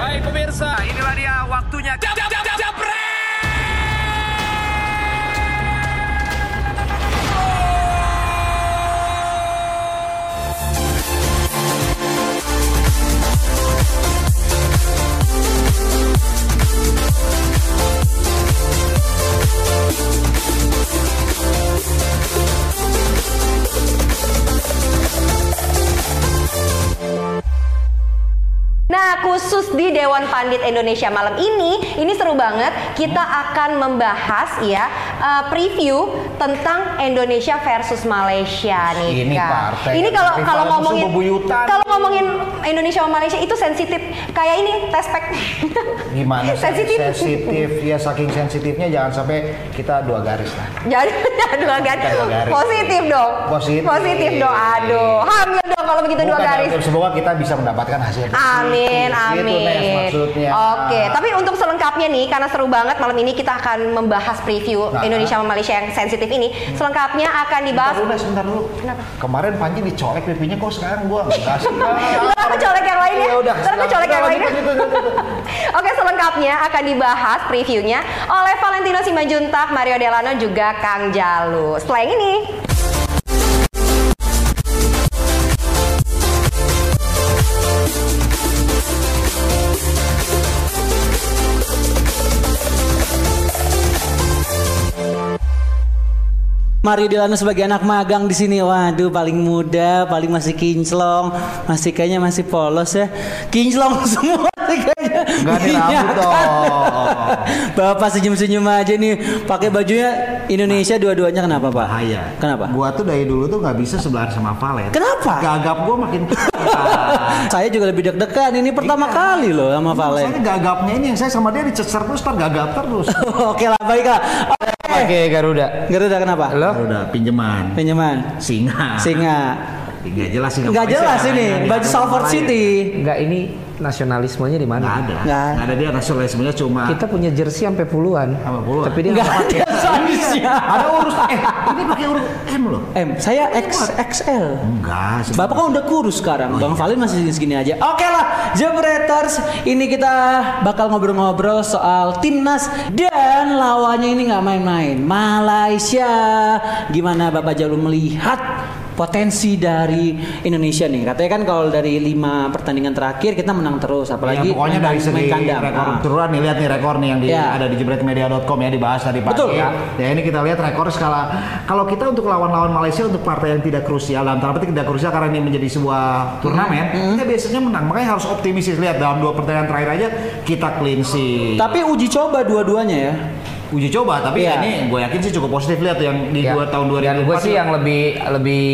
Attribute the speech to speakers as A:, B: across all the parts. A: Hai pemirsa, inilah dia waktunya. Jap, jap, jap, jap, jepret!
B: Nah, khusus di Dewan Pandit Indonesia malam ini, ini seru banget. Kita akan membahas ya eh, preview tentang Indonesia versus Malaysia nih.
C: Ini
B: Kak.
C: partai
B: Ini kalau
C: rival
B: kalau
C: susu
B: ngomongin
C: bebuyutan.
B: kalau ngomongin Indonesia sama Malaysia itu sensitif. Kayak ini tespek.
C: gimana sih?
B: sensitif?
C: sensitif ya saking sensitifnya jangan sampai kita dua garis lah
B: Jadi dua garis.
C: Bukan dua garis.
B: Positif dong.
C: Positif.
B: dong. Aduh, hamil dong kalau begitu dua
C: Bukan,
B: garis.
C: ya, semoga kita bisa mendapatkan hasil yang
B: Amin,
C: positif.
B: amin.
C: Gitu, Nes, maksudnya. Nah.
B: Oke, tapi untuk selengkapnya nih, karena seru banget malam ini kita akan membahas preview
C: Nah.
B: Indonesia sama Malaysia yang sensitif ini. Selengkapnya akan
C: Bentar
B: dibahas.
C: dulu, Nes, bentar dulu. Kemarin Panji dicolek pipinya kok sekarang gua enggak sih.
B: Ntar aku colek yang lain ya.
C: Ya udah.
B: Ntar aku colek yang lain ya.
C: Lanjut, lanjut, lanjut.
B: Oke, selengkapnya akan dibahas previewnya oleh Valentino Simanjuntak, Mario Delano juga Kang Jalu. Setelah yang ini.
D: Mario Delano sebagai anak magang di sini, waduh paling muda, paling masih kinclong, masih kayaknya masih polos ya, kinclong semua sih kayaknya.
C: Enggak ada rambut
D: Minyakan.
C: dong.
D: Bapak senyum-senyum aja nih, pakai bajunya Indonesia dua-duanya kenapa pak?
C: Bahaya.
D: Kenapa?
C: Gua tuh dari dulu tuh nggak bisa sebelahan sama Valen.
D: Kenapa?
C: Gagap gua makin parah.
D: Saya juga lebih deg-degan, ini pertama
C: Iya.
D: kali loh sama Valen.
C: Saya gagapnya ini yang saya sama dia dicecer terus ntar gagap terus.
D: Oke lah, baiklah. Oke.
E: Pakai Garuda.
D: Garuda kenapa?
E: Lo?
C: Udah pinjeman.
D: Pinjaman.
C: Singa.
D: Singa.
C: Gak jelas sih.
D: Nggak jelas ini, baju Salford City.
E: Enggak ini nasionalismenya di
C: Gak
E: mana?
C: ada.
D: Nggak.
C: Gak ada dia nasionalismenya cuma.
E: Kita punya jersey sampai puluhan.
C: Sampai puluhan.
E: Tapi dia
D: Nggak
E: nggak
D: ada size-nya.
C: Ada urus eh ini pakai huruf M loh.
D: M, saya XXL.
C: Enggak. Oh, iya. sih.
D: Bapak kan udah kurus sekarang, Bang Valin masih segini aja. Oke lah, Jebreters, ini kita bakal ngobrol-ngobrol soal timnas dan lawannya ini nggak main-main, Malaysia. Gimana Bapak Jalu melihat potensi dari Indonesia nih? Katanya kan kalau dari lima pertandingan terakhir kita menang terus,
C: Ya,
D: apalagi
C: pokoknya
D: main-
C: dari segi
D: main kandang.
C: rekor
D: Ah.
C: keturunan nih lihat nih rekor nih yang di,
D: Ya.
C: ada di jebretmedia.com ya dibahas tadi pagi
D: Betul.
C: ya. Ya ini kita lihat rekor skala kalau kita untuk lawan-lawan Malaysia untuk partai yang tidak krusial dalam tanda petik tidak krusial karena ini menjadi sebuah turnamen
D: Hmm.
C: kita biasanya menang makanya harus optimistis lihat dalam dua pertandingan terakhir aja kita clean sheet.
D: Tapi uji coba dua-duanya ya.
C: uji coba tapi ya
D: Iya.
C: ini gue yakin sih cukup positif lihat yang di
E: Ya.
C: dua tahun 2004
E: Dan gue sih yang lebih lebih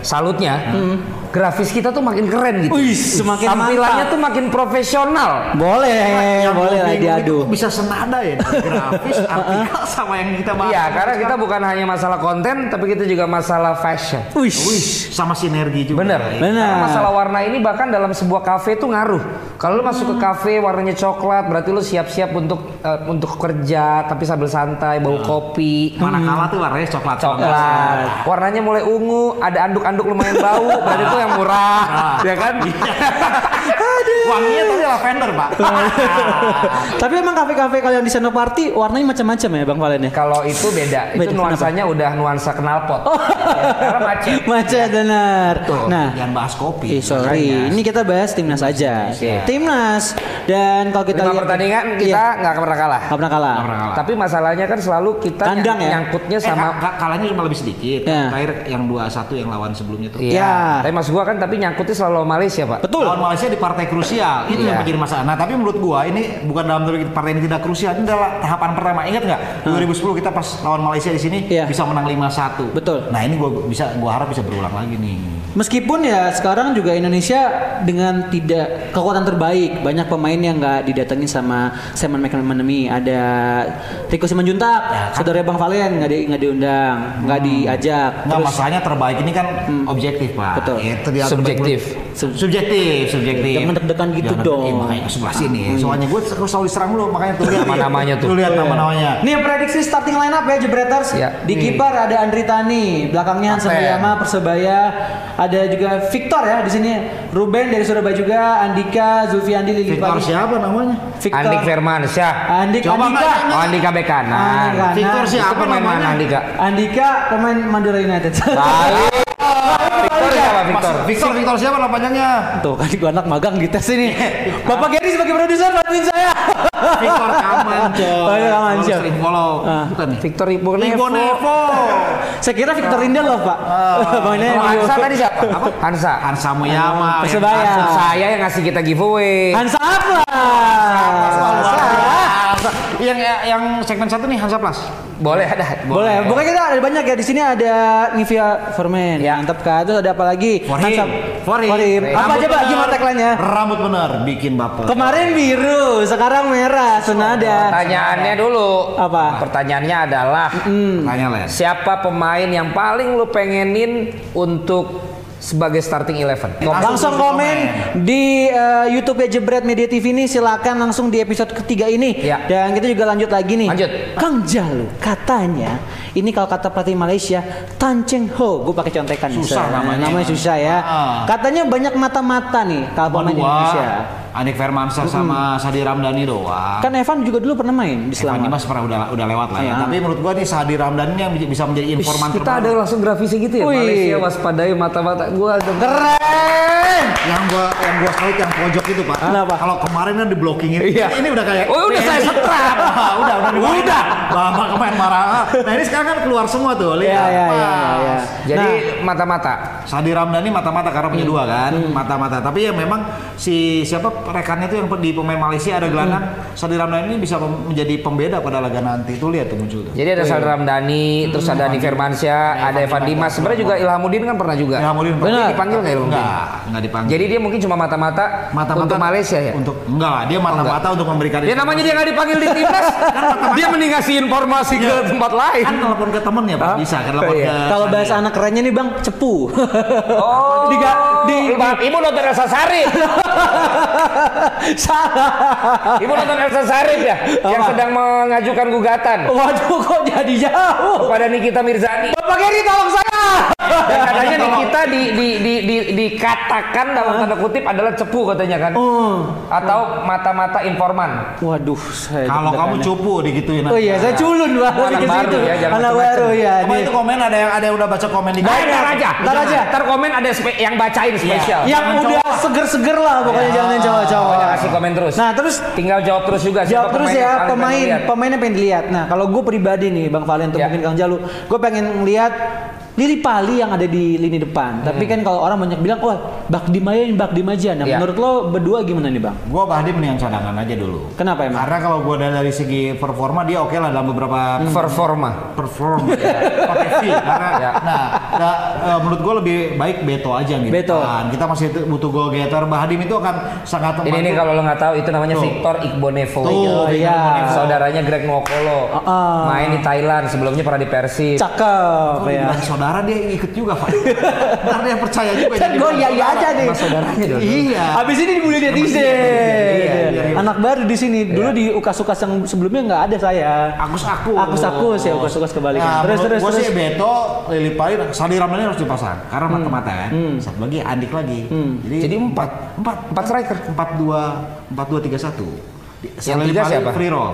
E: salutnya
C: Hmm.
E: grafis kita tuh makin keren gitu.
D: Wih, semakin
E: Tampilannya
D: mantap.
E: tuh makin profesional.
D: Boleh,
E: Eh,
C: Yang gua
D: boleh lah
C: bingung itu
D: diadu.
C: kok bisa senada ya grafis artikel sama yang kita bahas
E: Iya, karena kita bukan hanya masalah konten, tapi kita juga masalah fashion.
C: Wih,
D: Wih,
C: sama sinergi juga
E: Bener.
C: Ya.
D: Bener.
E: Karena masalah warna ini bahkan dalam sebuah kafe tuh ngaruh. Kalau lu masuk ke
C: Hmm.
E: kafe warnanya coklat, berarti lu siap-siap untuk eh, untuk kerja, tapi sambil santai, bau kopi.
C: Nah.
E: Hmm.
C: mana kalah tuh warnanya coklat
E: Coklat. Warnanya mulai ungu, ada anduk-anduk lumayan bau, berarti itu yang murah, ya kan?
C: Iya. wanginya tadi lavender pak
D: Tapi emang kafe-kafe kalau yang di Senopati warnanya macam-macam ya Bang Valen ya?
E: Kalau itu beda, itu
D: Beda, Oh.
E: nuansanya udah nuansa knalpot. Ya, karena macet.
D: Macet benar.
C: Tuh,
D: Nah,
C: jangan bahas kopi
D: eh, sorry, ini kita bahas timnas aja.
E: Oke.
D: Timnas dan kalau kita
E: Lima
D: lihat-
E: pertandingan kita
D: Iya,
E: nggak pernah kalah.
D: nggak pernah kalah.
C: pernah kalah.
E: Tapi masalahnya kan selalu kita
D: Kandang ya?
E: nyangkutnya
C: Eh,
E: sama
C: ka- ka- kalahnya cuma lebih sedikit
D: Ya.
C: terakhir yang 2-1 yang lawan sebelumnya tuh
E: Iya.
D: Ya.
E: Tapi mas gua kan tapi nyangkutnya selalu sama Malaysia pak.
D: Betul.
C: lawan Malaysia di partai krusial itu yang
E: Iya.
C: menjadi masalah nah tapi menurut gua ini bukan dalam teori partai ini tidak krusial ini adalah tahapan pertama ingat nggak 2010 kita pas lawan Malaysia di sini
D: Iya.
C: bisa menang 5-1
D: Betul.
C: nah ini gua bisa gua harap bisa berulang lagi nih
D: Meskipun ya sekarang juga Indonesia dengan tidak kekuatan terbaik, banyak pemain yang nggak didatengin sama Simon McManamy, ada Rico Simanjuntak,
C: Ya, kan.
D: saudara Bang Valen nggak di, nggak diundang,
C: Hmm.
D: nggak diajak.
C: Nggak, masalahnya terbaik ini kan objektif pak
D: Hmm. Betul.
C: Itu dia terbaik.
E: Subjektif.
D: Sub-
C: subjektif subjektif
D: Jangan deg-degan gitu
C: Jangan
D: dong. Hmm.
C: deg-degan, makanya ke sebelah sini soalnya gue selalu diserang lu makanya tuh lihat
E: Nama-namanya tuh. Iya.
C: lu lihat
D: Iya.
C: nama namanya
D: Nih prediksi starting lineup ya Jebreters.
E: Ya.
D: Di kiper ada Andri Tani, belakangnya Hansen
C: Kapten.
D: Wiyama, Persebaya, ada juga Victor ya di sini. Ruben dari Surabaya juga, Andika, Zulfiandi Lili
C: Victor
D: Pari-
C: siapa namanya
D: Victor.
E: Andik Firmansyah.
D: Andik
C: Coba,
D: Andika.
C: Mbak.
E: Oh, Andika bek kanan.
D: Ah. Andika.
C: Victor
E: Itu
C: siapa
E: pemain mana
C: namanya
E: Andika?
D: Andika pemain Madura United.
E: Kali. Victor siapa Victor?
C: Mas- Victor Victor siapa nama panjangnya
D: Tuh kan gua anak magang di tes ini. Bapak Gary sebagai produser bantuin saya.
C: Victor Kamanco
D: Oh, iya, Kamanco.
C: Lu sering follow
D: Ah.
C: bukan ya? nih
E: Victor Ibonevo.
C: Ibonevo
D: Saya kira Victor Indah loh, Pak.
C: Ah.
D: Pemainnya
E: Oh,
D: yang
E: Hansa
D: di-
E: tadi siapa? Apa? Hansa.
C: Hansa Muyama
D: Persebaya.
E: Maksud saya yang ngasih kita giveaway.
D: Hansa apa?
C: Hansa.
D: Hansa.
C: yang yang segmen satu nih Hansa Plus
E: Boleh ada.
D: Boleh. Pokoknya kita ada banyak ya di sini ada Nivea for Men.
E: Ya.
D: Mantap kan. Terus ada apa lagi?
C: For him.
D: Handsome.
C: For him.
D: For him. Apa
C: Rambut
D: aja Pak
C: bener.
D: gimana tagline-nya?
C: Rambut bener bikin baper.
D: Kemarin biru, sekarang merah, senada.
E: Pertanyaannya dulu.
D: Apa?
E: Pertanyaannya adalah
C: Tanya Les.
E: siapa pemain yang paling lu pengenin untuk sebagai starting eleven?
D: Langsung komen di eh, YouTube ya Jebret Media TV ini silakan langsung di episode ketiga ini.
E: Ya.
D: Dan kita juga lanjut lagi nih.
E: Lanjut.
D: Kang Jalu katanya ini kalau kata pelatih Malaysia Tan Cheng Ho, gue pakai contekan nih,
C: Susah
D: Sir.
C: namanya.
D: Namanya susah ya.
C: Ah.
D: Katanya banyak mata-mata nih kalau pemain
C: Dua,
D: Indonesia. Hmm.
C: Andik Firmansyah sama Sadi Ramdhani doang.
D: Kan Evan juga dulu pernah main di
C: Evan
D: Selamat.
C: Dimas pernah udah udah lewat lah ya.
D: Iya.
C: Tapi menurut gua nih Sadi Ramdhani yang bisa menjadi
E: Ish,
C: informan
E: kita ada
C: terbaru.
E: langsung grafisnya gitu ya.
D: Wih.
E: Malaysia waspadai mata-mata gua ada-
D: Keren.
C: Eh! yang gua yang gua sekali yang pojok itu pak.
D: Kenapa?
C: Kalau kemarin kan diblokingin.
E: Iya.
C: Ini udah kayak.
E: Oh, udah saya setrap.
C: Wah, udah udah diwakilin. Bapak kemarin marah. Nah ini sekarang kan keluar semua tuh. Lihat.
D: Ya ya ya ya, ya.
C: Pas.
E: Jadi mata-mata.
C: Sadi Ramdhani mata-mata karena punya dua kan, mata-mata. Tapi ya memang si siapa rekannya tuh yang pe- di pemain Malaysia ada gelandang. Sadi Ramdhani ini bisa
D: Iya.
C: mem- menjadi pembeda pada laga nanti. Itu lihat tuh muncul tuh.
E: Jadi ada Sandra Ramdhani, terus ada Andi Iya, Firmansyah, ada Evan Dimas. Sebenarnya juga Ilhamudin kan pernah juga.
C: Ilhamudin
E: Tapi
C: pernah.
E: dipanggil nggak Ilhamudin?
C: Enggak, enggak dipanggil.
E: Jadi dia mungkin cuma mata-mata
C: mata-mata
E: untuk Malaysia
D: Iya.
E: ya.
C: Untuk enggak lah, dia mata-mata untuk memberikan
E: Ya namanya dia nggak dipanggil di timnas, dia mending ngasih informasi ke
D: Iya.
E: tempat lain.
C: kan telepon ke temen ya Pak bisa kan telepon
E: Iya.
C: ke
D: Kalau
C: Sandi.
D: bahasa anak kerennya nih Bang, cepu.
E: Oh,
D: di, di,
E: Ibu- ibu nonton Elsa Sarif,
D: salah.
E: ibu nonton Elsa Sarif ya, yang
D: Apa?
E: sedang mengajukan gugatan
D: Waduh kok jadi jauh.
E: kepada Nikita Mirzani.
D: Bapak Geri tolong saya.
E: Dan katanya Nikita di, di, di, di- dikatakan dalam tanda kutip adalah cepu katanya kan,
D: Oh.
E: atau mata-mata informan.
D: Waduh, saya
C: kalau kamu
D: deg-degan.
C: cupu digituin.
D: Oh iya, saya culun Bang.
E: Anak
D: Bikin
E: baru
D: situ.
E: ya, jangan
D: Anak
E: macem-macem.
D: baru ya.
C: Apa
D: nih.
C: itu komen ada yang ada yang udah baca komen di
E: Nah, ntar aja,
D: Ntar aja. Iya.
E: ntar komen ada spe- yang bacain spesial.
D: Yang
C: Jangan
D: udah
C: cowok.
D: seger-seger lah pokoknya jangan yang cowok-cowok.
E: Pokoknya Iya. kasih komen terus.
D: Nah, terus
E: Tinggal jawab terus juga. siapa
D: Jawab terus
E: pemain
D: ya
E: yang paling pengen
D: pemain,
E: lihat.
D: pemain yang pengen dilihat. Nah kalau gue pribadi nih Bang Valen atau
E: Ya.
D: mungkin Kang Jalu, gue pengen ngeliat Lili Pali yang ada di lini
E: Hmm.
D: depan. Tapi kan kalau orang banyak bilang, wah bak dimain, bak aja. Nah
E: Ya.
D: menurut lo berdua gimana nih Bang?
C: Gue Bahdi mendingan cadangan aja dulu.
D: Kenapa emang?
C: Karena kalau gue dari segi performa dia oke lah dalam beberapa
E: performa.
C: perform ya. pakai fee karena
E: Hmm. Ya.
C: nah, nah, eh, menurut gue lebih baik Beto aja nih
D: Beto.
C: kita masih tu- butuh goal getter Bahadim itu akan sangat
E: Ini nih
C: membantu.
E: kalau lo nggak tahu itu namanya
C: Tuh.
E: Victor Igbonevo.
C: Tuh,
D: Victor iya. Igbonevo.
E: Saudaranya Greg Nwokolo.
D: ah.
E: Main di Thailand, sebelumnya pernah di Persib.
D: Cakep
C: Kalau
D: ya.
C: dibilang saudara dia ikut juga Pak ntar dia percaya juga jadi
D: Kan gue
C: bilang
D: ya ya aja
C: saudara.
D: nih.
E: Mas saudaranya dong.
C: iya
D: Habis ini dibully netizen.
E: iya, iya,
C: iya.
D: Anak baru di sini. Dulu di ukas-ukas yang sebelumnya nggak ada saya.
C: Akus aku.
D: Akus Akus ya ukas ukas
E: Iya,
D: kebalikan. terus terus
C: Gue
D: terus.
C: Nah, sih Beto, Lili Pali, Sandi Ramdhani harus dipasang karena mata-mata kan. Satu lagi Andik lagi. Jadi,
E: Hmm. Jadi empat.
C: empat, kan
E: Empat striker.
C: empat dua, empat dua tiga satu. Di-
E: Yang
C: Lili
E: tiga
C: Pali
E: siapa?
C: Free roll.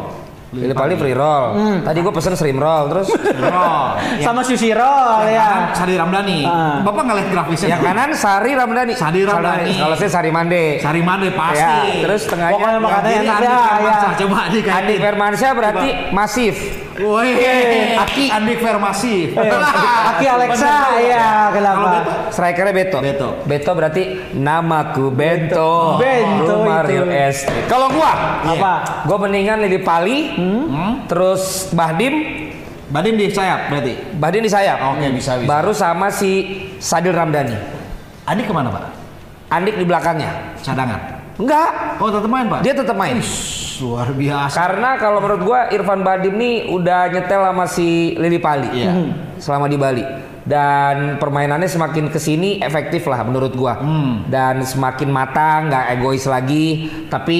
E: Pilih paling free roll. Tadi gue pesen stream roll terus.
C: Free roll. Yang
D: Sama Susi Roll ya.
C: kanan Sandi Ramdhani.
D: Ah.
C: Bapak nggak lihat grafisnya?
E: Oh, iya. yang kanan Sari Ramdhani.
C: Sari Ramdhani.
E: Kalau saya Sari Mande.
C: Sari Mane pasti.
E: Ya, terus tengahnya
D: Pokoknya
E: yang
D: makannya
E: kiri
D: enak
E: Andi
D: ya,
E: Firmansyah.
D: ya.
C: Nah, coba Andik
E: Andi Firmansyah berarti masif.
C: Woi,
E: Iya. Aki. Iya.
C: Andik Vermasi.
D: Eh, Aki Alexa, iya, kenapa?
C: Kalau gitu? Beto,
E: Strikernya Beto.
C: Beto.
E: Beto berarti namaku Bento.
D: Bento
E: Rumah
D: itu.
E: real estate. Kalau gua,
D: Apa? Hmm?
E: gua mendingan Lili Pali, terus Bahdim,
C: Badim di sayap berarti.
E: Bahdim di sayap.
C: Oke, bisa, bisa.
E: Baru sama si Sadil Ramdhani.
C: Andik kemana Pak?
E: Andik di belakangnya.
C: Cadangan.
E: Enggak,
C: Oh tetap main pak?
E: dia tetap main.
C: luar biasa.
E: Karena kalau menurut gua Irfan Bahdim nih udah nyetel sama si Lili Pali.
C: Iya.
E: Selama di Bali. dan permainannya semakin kesini efektif lah menurut gua
C: Hmm.
E: dan semakin matang nggak egois lagi tapi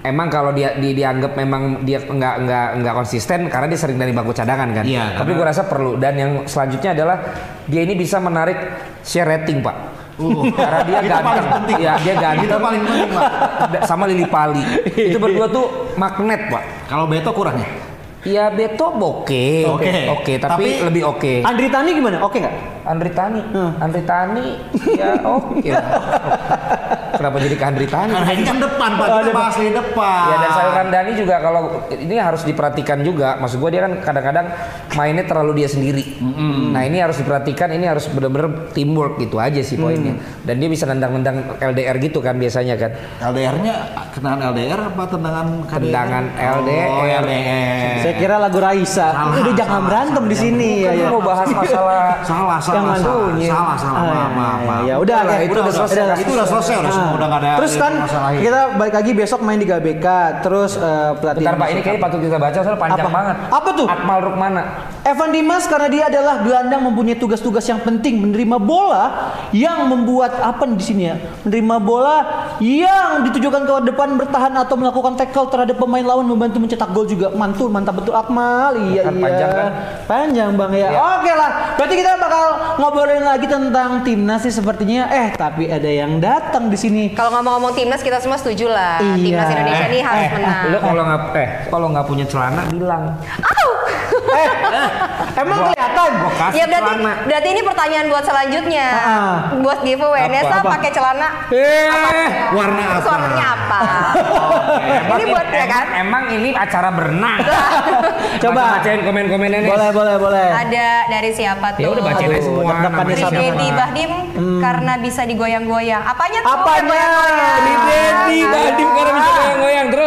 E: emang kalau dia di- dianggap memang dia nggak nggak nggak konsisten karena dia sering dari bangku cadangan kan
C: Iya,
E: tapi gua rasa perlu dan yang selanjutnya adalah dia ini bisa menarik share rating pak
C: Uh.
E: karena dia
C: Itu paling
E: ganteng
C: penting.
E: Iya, dia ganteng
C: Itu paling penting, Pak.
E: Da- sama Lili Pali itu berdua tuh magnet pak
C: Kalau Beto kurang ya?
E: ya Beto oke
C: Oke.
E: oke tapi,
C: Tapi-
E: lebih oke
D: Andri Tani gimana? Oke nggak?
E: Andri Tani Andri Tani ya oke lah. kenapa jadi ke Andri Tani
C: Karena ini kan depan, Pak.
D: Oh,
C: Kita bahas di depan.
D: Iya,
E: Ya dan Syahrul Ramdhani juga kalau ini harus diperhatikan juga. Maksud gue dia kan kadang-kadang mainnya terlalu dia sendiri. Nah ini harus diperhatikan. Ini harus benar-benar teamwork gitu aja sih poinnya.
D: Mm.
E: Dan dia bisa nendang-nendang LDR gitu kan biasanya kan.
C: LDR-nya kenangan LDR apa tendangan KDR?
E: Tendangan LDR.
C: Oh, LDR.
D: Saya kira lagu Raisa.
C: Salah,
D: Udah jangan
C: salah,
D: berantem
C: salah.
D: di sini ya.
E: Kan
D: ya.
E: lu mau bahas masalah
C: Salah, salah,
D: Jangan
C: salah,
D: bunyi.
C: salah, salah,
D: Ah,
C: maaf, maaf, maaf.
D: Ya udah
E: Udah lah,
D: oke.
E: itu udah selesai
D: lah.
C: Itu udah selesai, udah semua, udah nggak ada
D: Terus kan
C: masalahin.
D: kita balik lagi besok main di GBK, terus eh, pelatih
E: Bentar Pak, ini kayaknya patut kita baca soalnya panjang
D: Apa?
E: banget.
D: Apa tuh?
E: Akmal Rukmana.
D: Evan Dimas karena dia adalah gelandang mempunyai tugas-tugas yang penting menerima bola yang membuat apa di sini ya menerima bola yang ditujukan ke depan bertahan atau melakukan tackle terhadap pemain lawan membantu mencetak gol juga mantul mantap betul Akmal iya
E: Kan
D: iya
E: panjang kan?
D: panjang bang ya
E: Iya.
D: oke lah berarti kita bakal ngobrolin lagi tentang timnas sih sepertinya eh tapi ada yang datang di sini
B: Kalau ngomong-ngomong timnas kita semua setuju lah.
D: Iya.
B: Timnas Indonesia ini harus menang.
E: Eh, Lu kalau nggak eh kalau nggak punya celana bilang.
D: eh emang kelihatan
E: Gua kasih
B: ya berarti
E: celana.
B: berarti ini pertanyaan buat selanjutnya.
D: Ah.
B: Buat giveaway
E: Apa?
B: Nesa
E: Apa?
B: pakai celana
E: Eh,
C: warna apa?
B: Suaranya apa? ini buat ya kan?
E: Emang ini acara berenang.
D: Coba.
E: bacain komen-komennya nih.
D: boleh boleh boleh
B: Ada dari siapa tuh?
E: Ya udah bacain aja
D: Aduh,
E: semua.
D: deg-degannya
E: namanya
B: Dari
D: sampai
E: siapa. Hmm.
B: Dedi Bahdim karena bisa digoyang-goyang. Apanya tuh?
D: Apanya?
B: goyang-goyang?
D: Dari
E: Dedi Bahdim karena bisa goyang-goyang terus.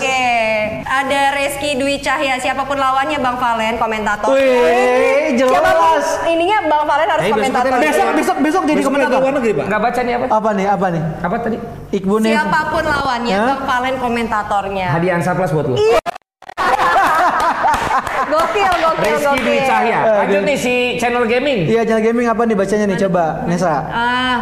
B: Ah. Oke, ada Reski Dwi Cahya, siapapun lawannya Bang Valen komentator.
D: Wih, jelas.
B: Siapapun ininya Bang Valen harus
C: Tapi besok
B: komentator.
C: kita-
D: besok besok besok jadi
C: Besok kita
D: komentator
C: luar negeri, Pak.
E: Enggak baca nih apa?
D: apa nih apa nih
E: Apa tadi?
D: Iqbal nih
B: Siapapun lawannya
D: Hah?
B: Bang Valen komentatornya.
E: Hadiah Ansa Plus buat lu.
B: Iya, Gokil, gokil,
E: Rizky
B: gokil.
E: Dwi Cahya. Lanjut nih si channel gaming.
D: Eh, Iya, channel gaming apa nih bacanya nih? Coba, Nesa.
B: Ah,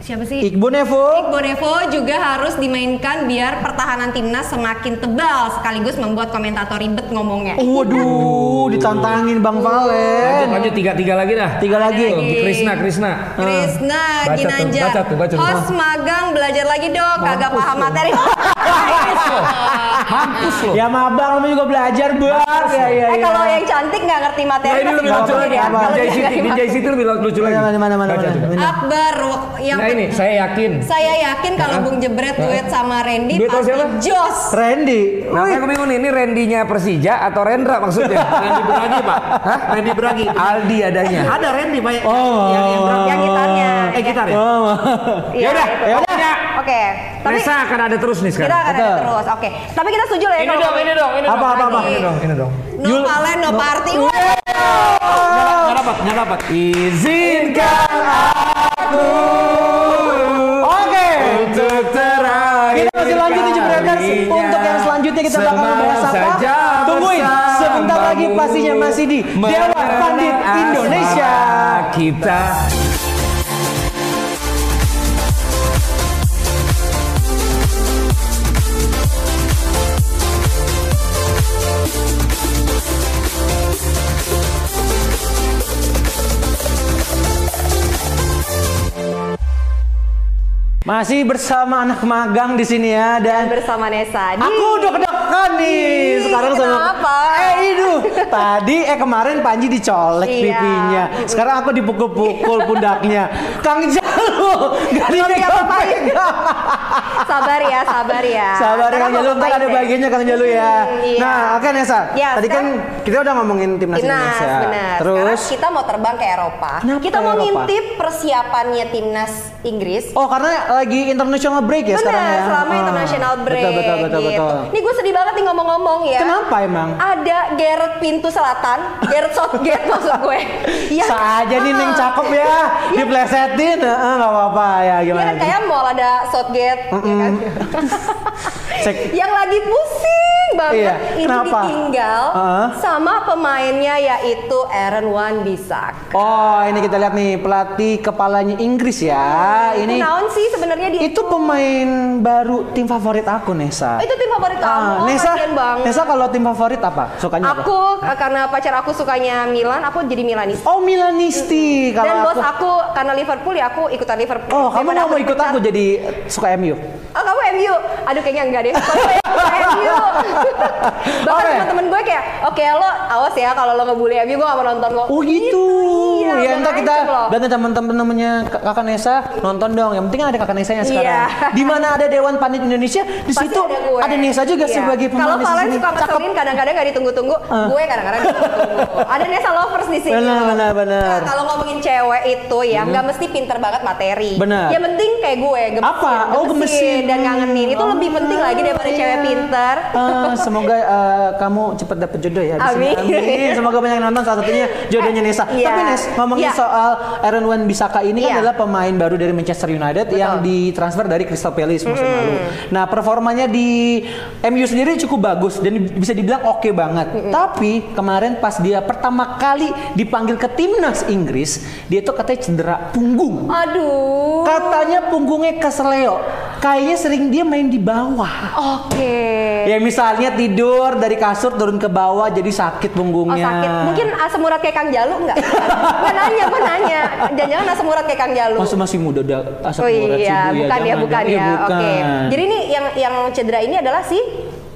B: siapa sih?
D: Iqbo Nevo.
B: Bonevo juga harus dimainkan biar pertahanan timnas semakin tebal sekaligus membuat komentator ribet ngomongnya.
E: Oh.
D: Waduh, ditantangin Bang Valen.
E: Lanjut lanjut tiga-tiga lagi dah.
D: Tiga
B: Lagi.
D: lagi.
E: Krisna, Krisna.
B: Iya. Krisna
E: Ah, Baca tuh,
B: Ginanjar,
E: baca tuh, baca tuh.
B: host magang belajar lagi dong, kagak paham materi.
E: Iya,
B: Eh,
E: Mampus lo.
B: Iya.
D: Ya sama Abang namanya juga belajar, Bang. Ya ya
B: eh
D: ya.
B: kalau yang cantik nggak ngerti materi.
E: iya. Nah, ini
B: pasti
E: lebih lucu
B: ngomongin
E: lagi.
B: ya, kalau
E: DJ
B: nggak
E: City,
B: ngerti
E: DJ City lebih lucu lagi.
D: Iya. Mana mana mana mana.
E: Baca, coba.
B: materi.
D: mana.
B: Akbar, wo- yang
E: Nah ini saya yakin.
B: saya yakin kalau
E: Hah?
B: Bung Jebret duet sama Randy
E: Duet sama
B: pasti
E: siapa?
B: jos.
D: Randy.
E: Nah, makanya gue bingung nih, ini Randy-nya Persija atau Rendra maksudnya?
C: Randy Beragi, Pak.
E: Hah?
C: Randy Beragi.
E: Aldi adanya.
C: Ada Randy, Pak.
D: Oh.
C: Yang, yang berapa?
B: Yang gitarnya.
C: Eh, gitar ya?
D: Oh.
B: Iya,
E: Yaudah,
B: itu.
E: yaudah.
B: Oke, tapi
E: Nesa akan ada terus nih
B: kita
E: sekarang.
B: akan ada
D: Betul.
B: terus. Oke, tapi kita setuju lah ya
E: Ini
B: kalau
E: dong, ini dong, ini
D: Apa,
E: dong.
D: apa, apa?
E: Ini dong, ini dong.
B: No
D: Yul-
B: Valen, no,
D: no-
B: party. Wah,
C: Nggak dapat, nggak dapat.
E: Izinkan aku
D: Oke.
E: untuk terakhir
D: Kita masih lanjut di Jebreters.
E: kalinya.
D: Untuk yang selanjutnya kita bakal
E: Semalam
D: membahas apa?
E: saja
D: Tungguin
E: bersamamu
D: sebentar lagi pastinya masih di Dewan
E: mengenang
D: Pandit
E: asmara
D: Indonesia.
E: Kita
D: Masih bersama anak magang di sini ya dan
B: bersama Nesa. Di-
D: Aku deg-degan nih
B: Ih,
D: sekarang sama
B: kenapa?
D: Eh itu tadi eh kemarin Panji dicolek
B: Iya.
D: pipinya. Sekarang aku dipukul-pukul pundaknya. Kang Jalu gak dipegang-pegang.
B: sabar ya, sabar ya.
D: Sabar
B: Ntar
D: Kang
B: aku
D: Jalu ntar
B: ngapain
D: ada
B: deh.
D: bagiannya Kang Jalu ya.
B: Hmm, iya.
D: Nah, oke Nesa.
B: Ya,
D: tadi kan
B: sekarang-
D: kita udah ngomongin timnas
B: Timnas,
D: Indonesia.
B: benar.
D: Terus
B: Sekarang kita mau terbang ke Eropa.
D: Kenapa
B: kita mau
D: Eropa?
B: ngintip persiapannya timnas Inggris.
D: Oh karena lagi international break ya
B: Benar,
D: sekarang ya.
B: selama
D: Ah,
B: international break.
D: Betul betul betul
B: gitu.
D: betul.
B: Ini gue sedih banget nih ngomong-ngomong ya.
D: Kenapa emang?
B: Ada Gareth pintu selatan, Gareth Southgate maksud gue. Iya.
D: Saja nih
B: Ah.
D: Neng cakep ya, diplesetin, eh, nggak apa-apa ya
B: Iya
D: gimana?
B: kan kayak mall ada Southgate, ya kan?
D: Cek.
B: yang lagi pusing banget
D: Iya,
B: ini
D: kenapa? Uh-huh.
B: ditinggal
D: Heeh.
B: sama pemainnya yaitu Aaron Wan Bisak.
D: Oh, ini kita lihat nih pelatih kepalanya Inggris ya. Ini
B: Kenaun sih sebenarnya Hmm, dia
D: itu pemain baru tim favorit aku Nesa.
B: Oh, itu tim favorit kamu.
D: Ah,
B: Oh,
D: Nesa,
B: kasihan banget.
D: Nesa kalau tim favorit apa? Sukanya apa?
B: aku eh, karena pacar aku sukanya Milan, aku jadi Milanis.
D: Oh, Milanisti. Kalau
B: Dan
D: aku,
B: bos aku karena Liverpool ya aku ikutan Liverpool.
D: Oh, kamu
B: Daripada
D: nggak mau ikut
B: dipecat.
D: aku jadi suka MU?
B: Oh kamu MU, aduh kayaknya enggak deh. Kalau saya suka MU, bahkan
D: Oke.
B: teman-teman gue kayak, oke lo awas ya kalau lo ngebully MU gue gak mau nonton lo.
D: Oh gitu.
B: Iya,
D: ya
B: udah
D: entar kita
B: ngancem loh.
D: dan teman-teman namanya Kak- Kakak Nesa nonton dong. Yang penting kan ada Kakak Nesa yang sekarang.
B: Iya.
D: Di mana ada Dewan Panit Indonesia, di
B: Pasti
D: situ
B: ada, gue.
D: ada, Nesa juga
B: Iya.
D: sebagai
B: Kalau
D: pemain di
B: Valen
D: sini. Ah.
B: suka ngeselin kadang-kadang gak ditunggu-tunggu, gue kadang-kadang ditunggu-tunggu. Ada Nesa lovers di sini.
D: Benar, benar, benar.
B: Nah, kalau ngomongin cewek itu ya nggak mesti pinter banget materi.
D: Benar.
B: Yang penting kayak gue gemesin,
D: Apa? Oh, gemesin.
B: dan ngangenin. Itu
D: Oh,
B: lebih penting lagi daripada
D: iya.
B: cewek pinter.
D: Ah, semoga eh, kamu cepat dapet jodoh ya. di sini.
B: Amin.
D: Amin. Semoga banyak yang nonton salah satunya jodohnya Nesa.
B: Iya.
D: Tapi Nes, ngomongin
B: Iya.
D: soal Aaron Wan Bisaka ini
B: Iya.
D: kan adalah pemain baru dari Manchester United yang ditransfer dari Crystal Palace musim lalu. Nah, performanya di MU sendiri cukup bagus dan di- bisa dibilang oke banget. Tapi kemarin pas dia pertama kali dipanggil ke timnas Inggris, dia tuh katanya cedera punggung.
B: Aduh.
D: Katanya punggungnya kesleo. Kayaknya sering dia main di bawah.
B: Oke.
D: Ya misalnya tidur dari kasur turun ke bawah jadi
B: Oh
D: sakit punggungnya.
B: sakit. Mungkin asam urat kayak Kang Jalu enggak? Gue nanya, gue nanya. Jangan-jangan asam urat kayak Kang Jalu.
D: Masa masih muda udah asap
B: oh
D: urat sih,
B: iya,
D: Bu,
B: bukan ya,
D: jangan.
B: bukan
D: Iya,
B: ya. Oke. Jadi ini yang yang cedera ini adalah si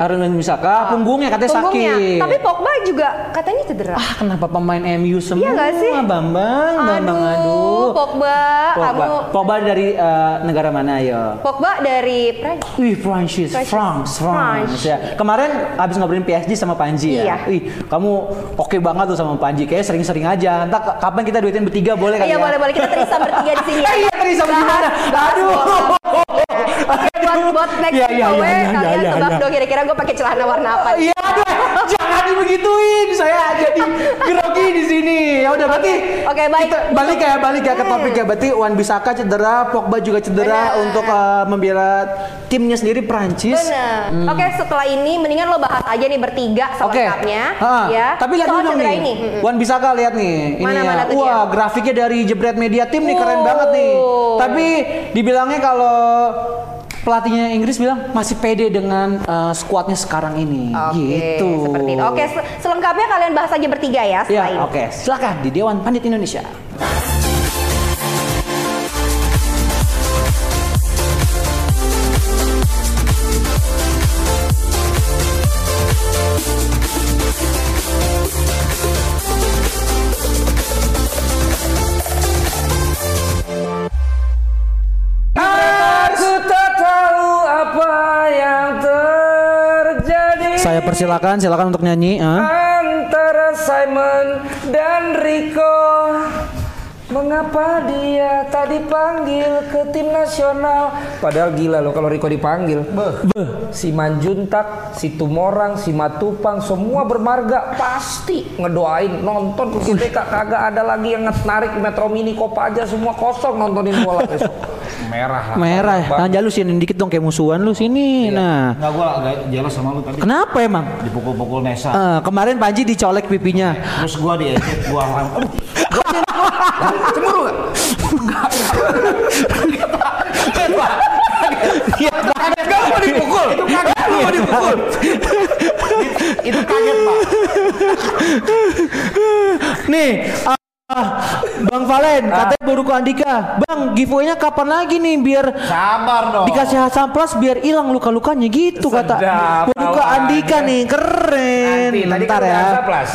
D: Aaron Wan Misaka punggungnya katanya
B: punggungnya.
D: sakit.
B: Tapi Pogba juga katanya cedera.
D: ah, kenapa pemain MU semua
B: Iya nggak sih?
D: Bambang, Bambang aduh.
B: Pogba,
D: Pogba.
B: kamu
D: Pogba dari eh, negara mana ya?
B: Pogba dari Prancis.
D: Wih, Prancis,
B: Prancis.
D: France, France.
B: France.
D: Ya. Kemarin abis ngobrolin PSG sama Panji ya.
B: Iya.
D: Wih, kamu oke banget tuh sama Panji. Kayaknya sering-sering aja. Entah k- kapan kita duetin bertiga boleh kali
B: Iya
D: ya?
B: boleh boleh kita terisam bertiga di sini. ya.
D: Eh, iya, terisam di
B: Bahas-
D: mana?
B: bahas
D: Aduh.
B: bola. Oke, buat buat next
D: Iya,
B: ya,
D: iya, iya, iya,
B: kalian
D: iya,
B: tebak
D: iya.
B: dong kira-kira gue pakai celana warna apa?
D: Iya, aduh, jangan dibegituin. Saya jadi grogi di sini. Ya udah berarti
B: oke, baik. Hmm.
D: kita balik ya, balik ya ke topik ya. Berarti Wan Bisaka cedera, Pogba juga cedera
B: Benar.
D: untuk eh, membela timnya sendiri Prancis.
B: Benar. Oke, setelah ini mendingan lo bahas aja nih bertiga
D: Hmm. Oke.
B: selengkapnya
D: Ha,
B: ya.
D: Tapi lihat
B: Soal
D: dulu dong
B: cedera
D: nih.
B: ini. Hmm, Mm-mm.
D: Wan Bisaka lihat nih. Ini
B: Mana,
D: ya.
B: mana tuh
D: Wah,
B: dia? Oh.
D: grafiknya dari Jebret Media Tim nih keren
B: Wow.
D: banget nih. Tapi dibilangnya kalau pelatihnya Inggris bilang masih pede dengan eh, skuadnya sekarang ini.
B: Oke,
D: gitu.
B: seperti itu. Oke, se- selengkapnya kalian bahas aja bertiga ya setelah
D: Ya,
B: ini.
D: oke. Silakan di Dewan Pandit Indonesia.
E: Aku tak tahu apa yang terjadi
D: Saya persilakan, silakan untuk nyanyi. ah.
E: antara Simon dan Rico. Mengapa dia tadi panggil ke tim nasional? Padahal gila loh kalau Rico dipanggil. Si Manjuntak, si Tumorang, si Matupang semua bermarga pasti ngedoain nonton ke GBK kagak ada lagi yang narik Metro Mini Kopaja semua kosong nontonin bola besok. Merah lah.
D: Merah,
E: Bang.
D: tangan lu sini dikit dong kayak musuhan lu sini. Nah,
C: Enggak gue agak jelas sama lu tadi.
D: kenapa emang?
C: Dipukul-pukul Nesa.
D: Eh, kemarin Panji dicolek pipinya.
C: Terus gue diejek, gue aduh
E: Kamu mau dipukul? Itu kagak kamu mau dipukul.
C: itu kaget pak.
D: Nih, ah, ah, Bang Valen,
E: Ah.
D: katanya baru ke Andika. Bang, giveaway-nya kapan lagi nih biar
C: Sabar dong.
D: dikasih Hasan Plus biar hilang luka-lukanya gitu kata.
E: Sedap,
D: Baru ke
E: lawan.
D: Andika nih, keren.
E: Nanti tadi kan
D: Bentar ya.
E: ya. plus.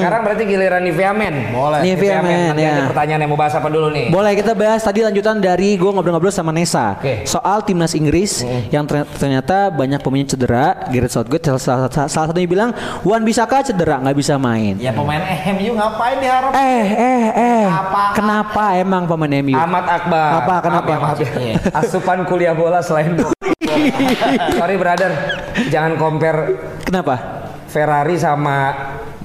E: Sekarang berarti giliran Nivea Men. Boleh.
D: Nivea Men,
E: Nanti ada
D: ya.
E: pertanyaan yang mau bahas apa dulu nih?
D: Boleh kita bahas tadi lanjutan dari gue ngobrol-ngobrol sama Nesa
E: Oke. Hmm.
D: soal timnas Inggris yang ter- ternyata banyak pemain cedera. Gareth Southgate salah, salah, salah- salah satunya bilang Wan Bisaka cedera nggak bisa main.
C: Ya pemain MU ngapain diharap?
D: Eh eh eh,
C: Apaan?
D: kenapa emang pemain MU?
E: Ahmad Akbar.
D: Apa, kenapa? Iya.
E: Maaf ya, maaf ya. Asupan kuliah bola selain bola. Sorry brother, jangan compare
D: Kenapa?
E: Ferrari sama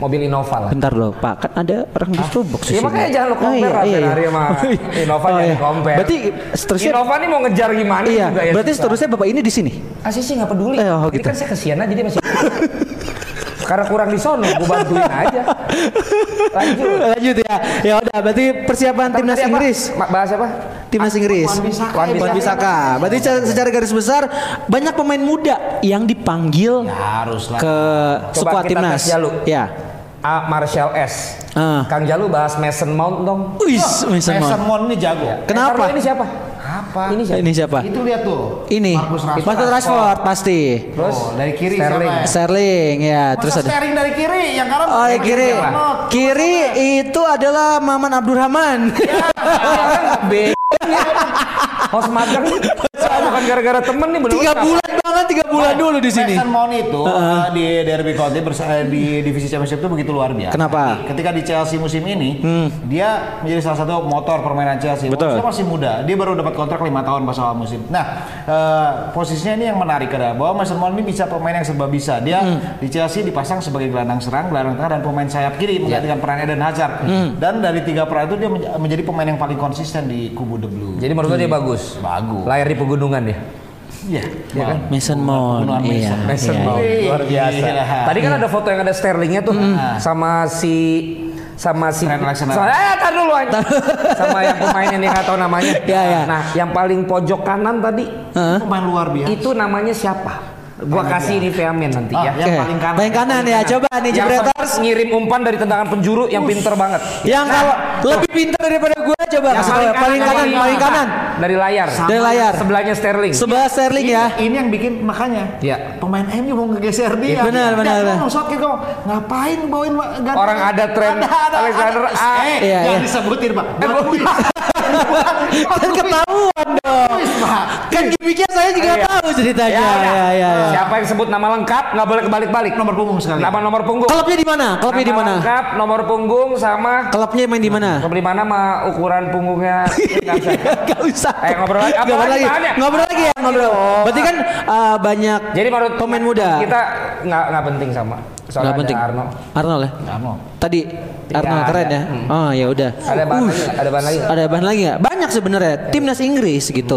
E: mobil Innova lah.
D: Bentar loh, Pak. Kan ada orang di Starbucks di
E: Ya
D: sini.
E: makanya jangan lo compare
D: Oh,
E: lah Ferrari sama Innova
D: Oh,
E: jangan
D: iya.
E: di compare.
D: Berarti seterusnya
E: Innova nih mau ngejar gimana
D: Iya,
E: juga ya.
D: berarti
E: susah.
D: seterusnya Bapak ini di sini.
E: Ah sih sih nggak peduli.
D: Eh, oh,
E: Ini
D: gitu.
E: kan saya kesian aja dia masih. Karena kurang di sono, gue bantuin aja. Lanjut.
D: Lanjut ya. Ya udah, berarti persiapan timnas
E: Tadi apa?
D: Inggris.
E: Ma- bahas apa?
D: Timnas Inggris.
C: Wan Bisaka.
E: Wan
D: Wan Bisaka. Berarti secara- secara garis besar banyak pemain muda yang dipanggil
C: harus lah.
D: ke
E: Coba
D: skuad
E: kita
D: timnas.
E: tes Jalu.
D: Ya.
E: A. Marshall S.
D: Ah.
E: Kang Jalu bahas Mason Mount dong.
D: Wih, Mason
C: Mason
D: Mount.
C: Mount ini jago.
D: Kenapa?
E: Eh, taruh, ini siapa?
C: Apa?
E: Ini siapa?
D: Ini siapa?
C: Itu lihat tuh.
D: Ini
C: Marcus Rashford.
D: Marcus Rashford pasti.
E: Terus
C: Oh, dari kiri
E: Sterling.
C: siapa ya?
D: Sterling ya,
C: Masa
D: terus ada
C: steering dari kiri yang kanan.
D: Oh, yang kiri.
C: Yang kanan.
D: Kiri itu adalah Maman Abdurrahman.
E: B. Host magang. Soalnya Oh, bukan gara-gara temen nih belum.
D: tiga bulan banget, tiga bulan dulu di sini.
C: Mason Mount itu
D: Ah,
C: eh, di Derby County bersa- eh, di divisi Championship itu begitu luar biasa.
D: Kenapa? Hmm.
C: Ketika di Chelsea musim ini, dia menjadi salah satu motor permainan Chelsea.
D: Betul.
C: Dia masih muda, dia baru dapat kontrak lima tahun pas awal musim. Nah, eh, posisinya ini yang menarik adalah bahwa Mason Mount ini bisa pemain yang serba bisa. Dia di Chelsea dipasang sebagai gelandang serang, gelandang tengah dan pemain sayap kiri menggantikan peran Eden Hazard. Dan dari tiga peran itu dia menj- menjadi pemain yang paling konsisten di kubu The Blue.
E: Jadi menurut lo dia bagus.
C: Bagus.
E: Lahir di pegunungan ya.
C: Iya,
E: Iya kan?
D: Mason Mount,
C: Penuhan
D: iya.
C: Mason.
E: Mason
D: iya.
E: Mount. Luar biasa.
C: Ya. Gila.
E: Tadi kan ada foto yang ada Sterlingnya tuh sama si sama si
C: Trent Alexander.
E: sama, eh, tar dulu anj- sama yang pemain yang dia nggak tahu namanya.
D: Ya, ya.
E: Nah, yang paling pojok kanan tadi
D: Heeh.
C: pemain luar biasa.
E: itu namanya siapa? Gua kasih di Viamin nanti
C: Ah,
E: ya.
C: Yang
D: Oke.
C: paling kanan.
D: Paling kanan ya, coba nih
E: Yang
D: Jebreters.
E: sempat ngirim umpan dari tendangan penjuru yang pinter banget.
D: Yang kalau lebih pintar daripada gue coba kasih tau ya. paling kanan,
E: dari-
D: paling kanan.
E: dari layar.
D: Dari layar.
E: Sebelahnya Sterling.
D: Sebelah Sterling ya.
C: Ini, ini yang bikin makanya.
E: Iya.
C: Pemain MU mau ngegeser dia.
D: Iya, Benar, benar,
C: Dia
D: benar.
C: ngomong shot gitu. Ngapain bawain wa- ganti-
E: Orang ada tren Alexander A. Eh,
C: Eh,
D: Iya,
C: jangan
D: iya.
C: disebutin, Pak. Buat
E: bukan.
C: Luis. Bukan, buat
D: Kan ketahuan dong.
C: Luis, Pak.
D: Kan gimmicknya saya juga
E: Iya.
D: tahu ceritanya.
E: Ya, udah.
D: Ya, ya, ya.
E: Siapa yang sebut nama lengkap nggak boleh kebalik-balik.
C: Nomor punggung sekali.
E: Nama nomor punggung.
D: Klubnya di mana? Klubnya di
E: Nama
D: mana?
E: Lengkap, nomor punggung sama
D: Klubnya main di mana?
E: beli mana sama ukuran punggungnya. Nggak bisa.
D: Gak usah.
E: Eh, ngobrol lagi. Apa
D: Ngobrol
E: lagi
D: lagi.
E: bahannya?
D: Ngobrol lagi ya, ngobrol. Berarti kan eh, banyak
E: Jadi menurut
D: pemain muda.
E: kita nggak nggak penting sama. Soalnya
D: Nggak penting.
E: ada Arno.
D: Arnold ya.
C: Nggak mau.
D: Tadi Arnold
E: ada.
D: keren ya.
E: Hmm.
D: Oh, ya udah.
E: Ada bahan
D: Uh,
E: lagi, nggak? ada bahan lagi. nggak?
D: Ada bahan lagi nggak? Banyak sebenarnya timnas Inggris gitu.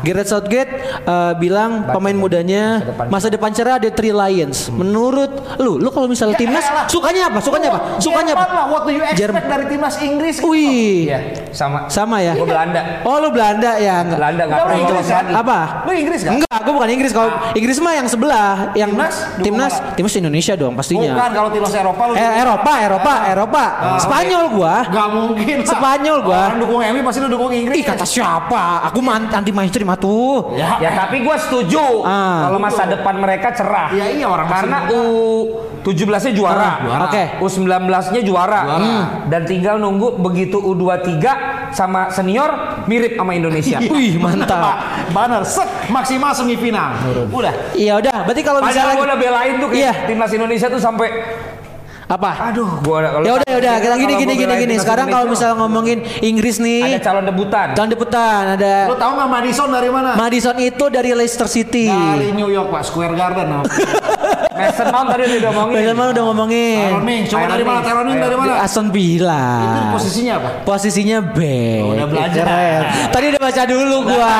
D: Gareth Southgate eh, bilang pemain mudanya
E: Masa depan.
D: masa depan cerah ada Three Lions. Menurut lu, lu kalau misalnya timnas
C: Hmm. Ya, elah.
D: sukanya apa? Sukanya apa? Sukanya apa?
C: Jerman lah, what do you expect
D: Jerman.
C: dari timnas Inggris?
D: Wih,
E: Iya, sama.
D: sama ya.
E: Gue Belanda.
D: Oh lu Belanda ya enggak?
E: Belanda nggak
C: Udah,
E: pernah
C: orang
D: ya.
E: lolos
C: Inggris kan?
E: lagi.
D: Apa?
C: Lu Inggris kan? Nah.
D: Enggak, gue bukan Inggris. Kalau Inggris mah yang sebelah, yang
C: Timnas? Dukung
D: timnas, timnas Indonesia dong
C: Bukan
D: pastinya.
C: Kan, Nah, kalau timnas Eropa lu.
D: Eh, Eropa, Eropa, Eropa. Spanyol gua.
C: Gak mungkin. Pak.
D: Spanyol gua.
C: Orang dukung MU pasti lu dukung Inggris.
D: Ih kata siapa? Aku mah anti mainstream atuh.
C: Ya,
E: Ya tapi gue setuju
D: Ah.
E: kalau masa depan mereka cerah.
C: Iya, iya, orang masih
E: karena
C: muda.
E: u 17-nya juara.
D: Ah, juara. Oke.
E: U 19-nya juara. Hmm.
C: Juara.
E: Dan tinggal nunggu begitu u 23 sama senior mirip sama Indonesia.
C: Pak,
D: Wih mantap.
C: banner set maksimal semifinal. Udah.
D: Iya udah, berarti kalau
E: Padahal gue
D: misalnya
E: udah belain tuh kayak
D: Iya.
E: timnas Indonesia tuh sampai
D: apa?
E: aduh gue
D: Ya udah ya udah, kita gini gini gini gini. Sekarang kalau Kan? misalnya ngomongin Inggris
E: ada
D: nih,
E: calon debutan.
D: tahun debutan ada
C: Lu tahu nggak Madison dari mana?
D: Madison itu dari Leicester City.
C: Dari New York Pak, Square Garden. Nah,
E: Mason Mount tadi udah ngomongin.
D: Padahal mah udah ngomongin
C: Taron Ming, coba
E: Iron
C: dari mana?
E: Man.
C: Taron Ming dari mana?
D: Aston Villa.
C: Itu posisinya apa?
D: Posisinya back.
C: Oh, udah belajar. Eh,
D: Keren. Tadi udah baca dulu gua.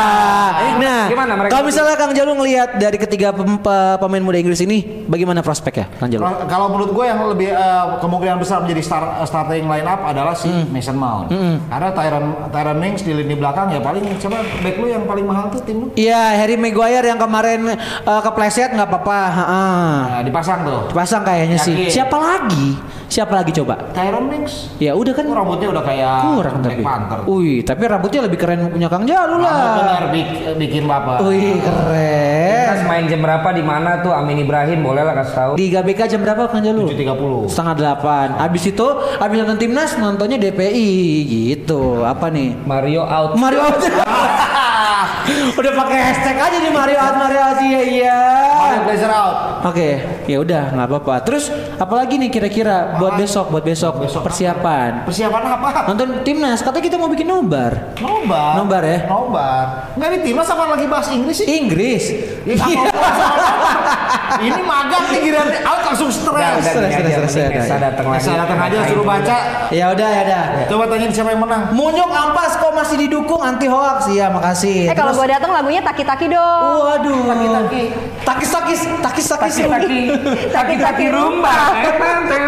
D: Nah,
E: gimana mereka
D: kalau misalnya Kang Jalu ngelihat dari ketiga pem- pe- pemain muda Inggris ini, bagaimana prospeknya Kang Jalu?
C: Kalau- Nah, Kalau menurut gue yang lebih eh, kemungkinan besar menjadi star, eh, starting line up adalah si Mason Mount. Karena Tyron Tyron Mings di lini belakang ya paling coba back lu yang paling mahal tuh tim lu.
D: Iya, Harry Maguire yang kemarin eh, kepleset nggak apa-apa. Ha-ha.
C: Nah, dipasang tuh.
D: Pasang kayaknya sih.
C: Yakin.
D: Siapa lagi? Siapa lagi coba?
C: Tyron Mings.
D: Ya udah kan
C: Itu rambutnya udah kayak
D: kurang
C: Black
D: tapi.
C: Panther.
D: Wih, tapi rambutnya lebih keren punya Kang Jalu lah.
C: Benar bikin, bikin bapak.
D: Wih, keren.
E: Timnas main jam berapa di mana tuh Amin Ibrahim boleh lah kasih tahu.
D: Liga BK jam berapa Kang Jalu?
C: 7.30.
D: Setengah delapan. Abis itu, abis nonton timnas, nontonnya DPI gitu. Apa nih?
E: Mario out.
D: Mario out. udah pakai hashtag aja nih Mario out, Mario out iya iya.
C: Mario Glazer out.
D: Oke, ya udah nggak apa-apa. Terus apalagi nih kira-kira buat besok, buat besok,
C: Besok apa?
D: persiapan.
C: Persiapan apa?
D: Nonton timnas, katanya kita mau bikin nobar.
C: Nobar.
D: Nobar ya?
C: Nobar. Enggak di timnas apa lagi bahas Inggris sih?
D: Inggris.
E: Iya.
C: Ya, apa- apa- apa- apa- Ini magang nih kira out langsung
D: Iya,
E: Udah,
C: stres.
E: udah gini
D: Stress,
E: aja,
D: stress,
E: mending
D: stress,
E: Nesa datang lagi.
C: Saya datang aja suruh baca.
D: Ya udah ya udah.
C: Coba tanyain siapa yang menang.
D: Munyuk ampas kok masih didukung anti hoax. Iya, makasih.
B: Eh kalau
D: Terus-
B: gua datang lagunya taki-taki dong.
D: Waduh. Takis takis takis takis.
E: Taki-taki, taki-taki rumba.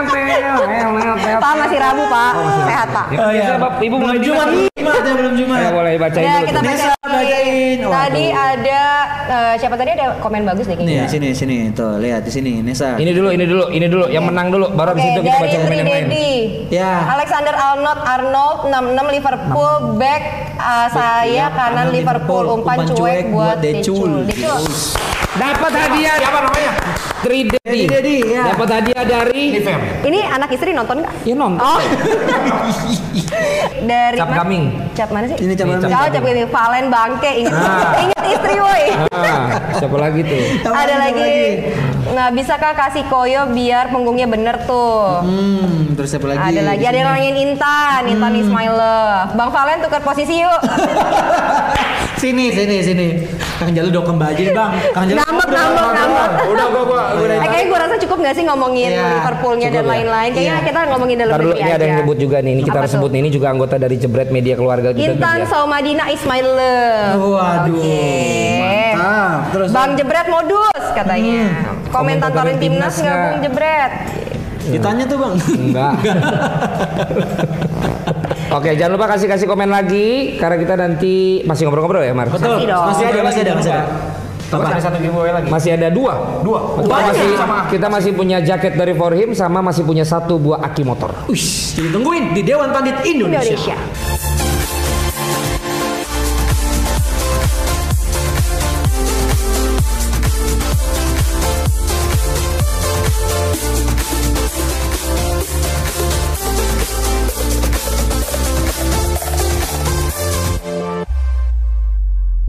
E: eh.
B: Pak masih Rabu Pak,
D: Oh,
B: sehat Pak.
E: Ya,
D: iya.
E: Bapak, Ibu
D: belum
E: mulai
D: Jumat.
E: dinas.
D: Jumat ya belum Jumat.
E: Saya boleh bacain
B: Ya
E: dulu.
B: kita
E: tuh.
B: baca
D: Nesa
B: lagi.
D: bacain. Waduh.
B: Tadi ada eh, siapa tadi ada komen bagus nih
D: Nih,
E: Iya.
B: kayaknya.
D: sini sini. Tuh, lihat di sini Nesa.
E: Ini dulu, ini dulu, ini dulu. Yang menang dulu, baru abis
B: Oke,
E: itu kita
B: dari
E: baca komen yang lain.
B: Tridedi.
D: Ya.
B: Alexander Arnold Arnold 66 Liverpool back eh, saya
D: Iya,
B: kanan Liverpool umpan cuek buat Decul. Decul.
E: Dapat hadiah.
C: Siapa namanya? iya.
E: 3D.
D: Jadi, jadi, ya.
E: Dapat hadiah dari
C: Nifem.
B: Ini anak istri nonton nggak?
E: Ya nonton.
B: Oh. dari
E: Cap
B: mana-
E: Gaming.
B: Cap mana sih?
D: Ini cap
B: Jauh,
D: Gaming.
B: cap ini Valen Bangke ingat ingat istri woi.
E: Ah, siapa lagi tuh?
B: Ada
D: Apa lagi, apa
B: lagi.
D: lagi?
B: Nah, bisakah kasih koyo biar punggungnya bener tuh?
D: Hmm, terus siapa lagi?
B: Ada lagi,
D: Di
B: ada yang
D: sini.
B: nanyain Intan, Intan Ismailov. Bang Valen tukar posisi yuk.
D: Sini, sini, sini. Kang Jalu dong kembali bang. Kang Jalu.
B: Ngambek, ngambek, ngambek.
C: Udah gua gua gua
B: Eh, kayaknya gue rasa cukup gak sih ngomongin
D: Iya,
B: Liverpoolnya
E: cukup
B: dan
E: ya.
B: lain-lain. Kayaknya kita ngomongin dalam
E: Ntar dulu,
B: negeri
E: ini
B: aja.
E: ada yang nyebut juga nih. Ini kita
B: Apa
E: harus
B: tuh?
E: sebut nih. Ini juga anggota dari Jebret Media Keluarga juga.
B: Intan
E: nih, ya.
B: Saumadina Ismailov.
D: Waduh,
B: Oke.
D: mantap. Terus-
B: Bang Jebret modus katanya. Komentator
E: Komentator
B: timnas
E: timnasnya.
B: nggak Bung Jebret?
D: Ditanya tuh bang.
E: Enggak. Oke, jangan lupa kasih-kasih komen lagi karena kita nanti masih ngobrol-ngobrol ya, Mar.
D: Betul.
B: Masih dong.
D: Masih ada, masih ada, masih ada.
C: Masih ada satu giveaway lagi.
E: Masih ada dua.
C: Dua.
E: Kita
C: Banyak.
E: masih,
C: Sama.
E: kita masih punya jaket dari For Him sama masih punya satu buah aki motor.
D: Uish, ditungguin di Dewan Pandit Indonesia.
B: Indonesia.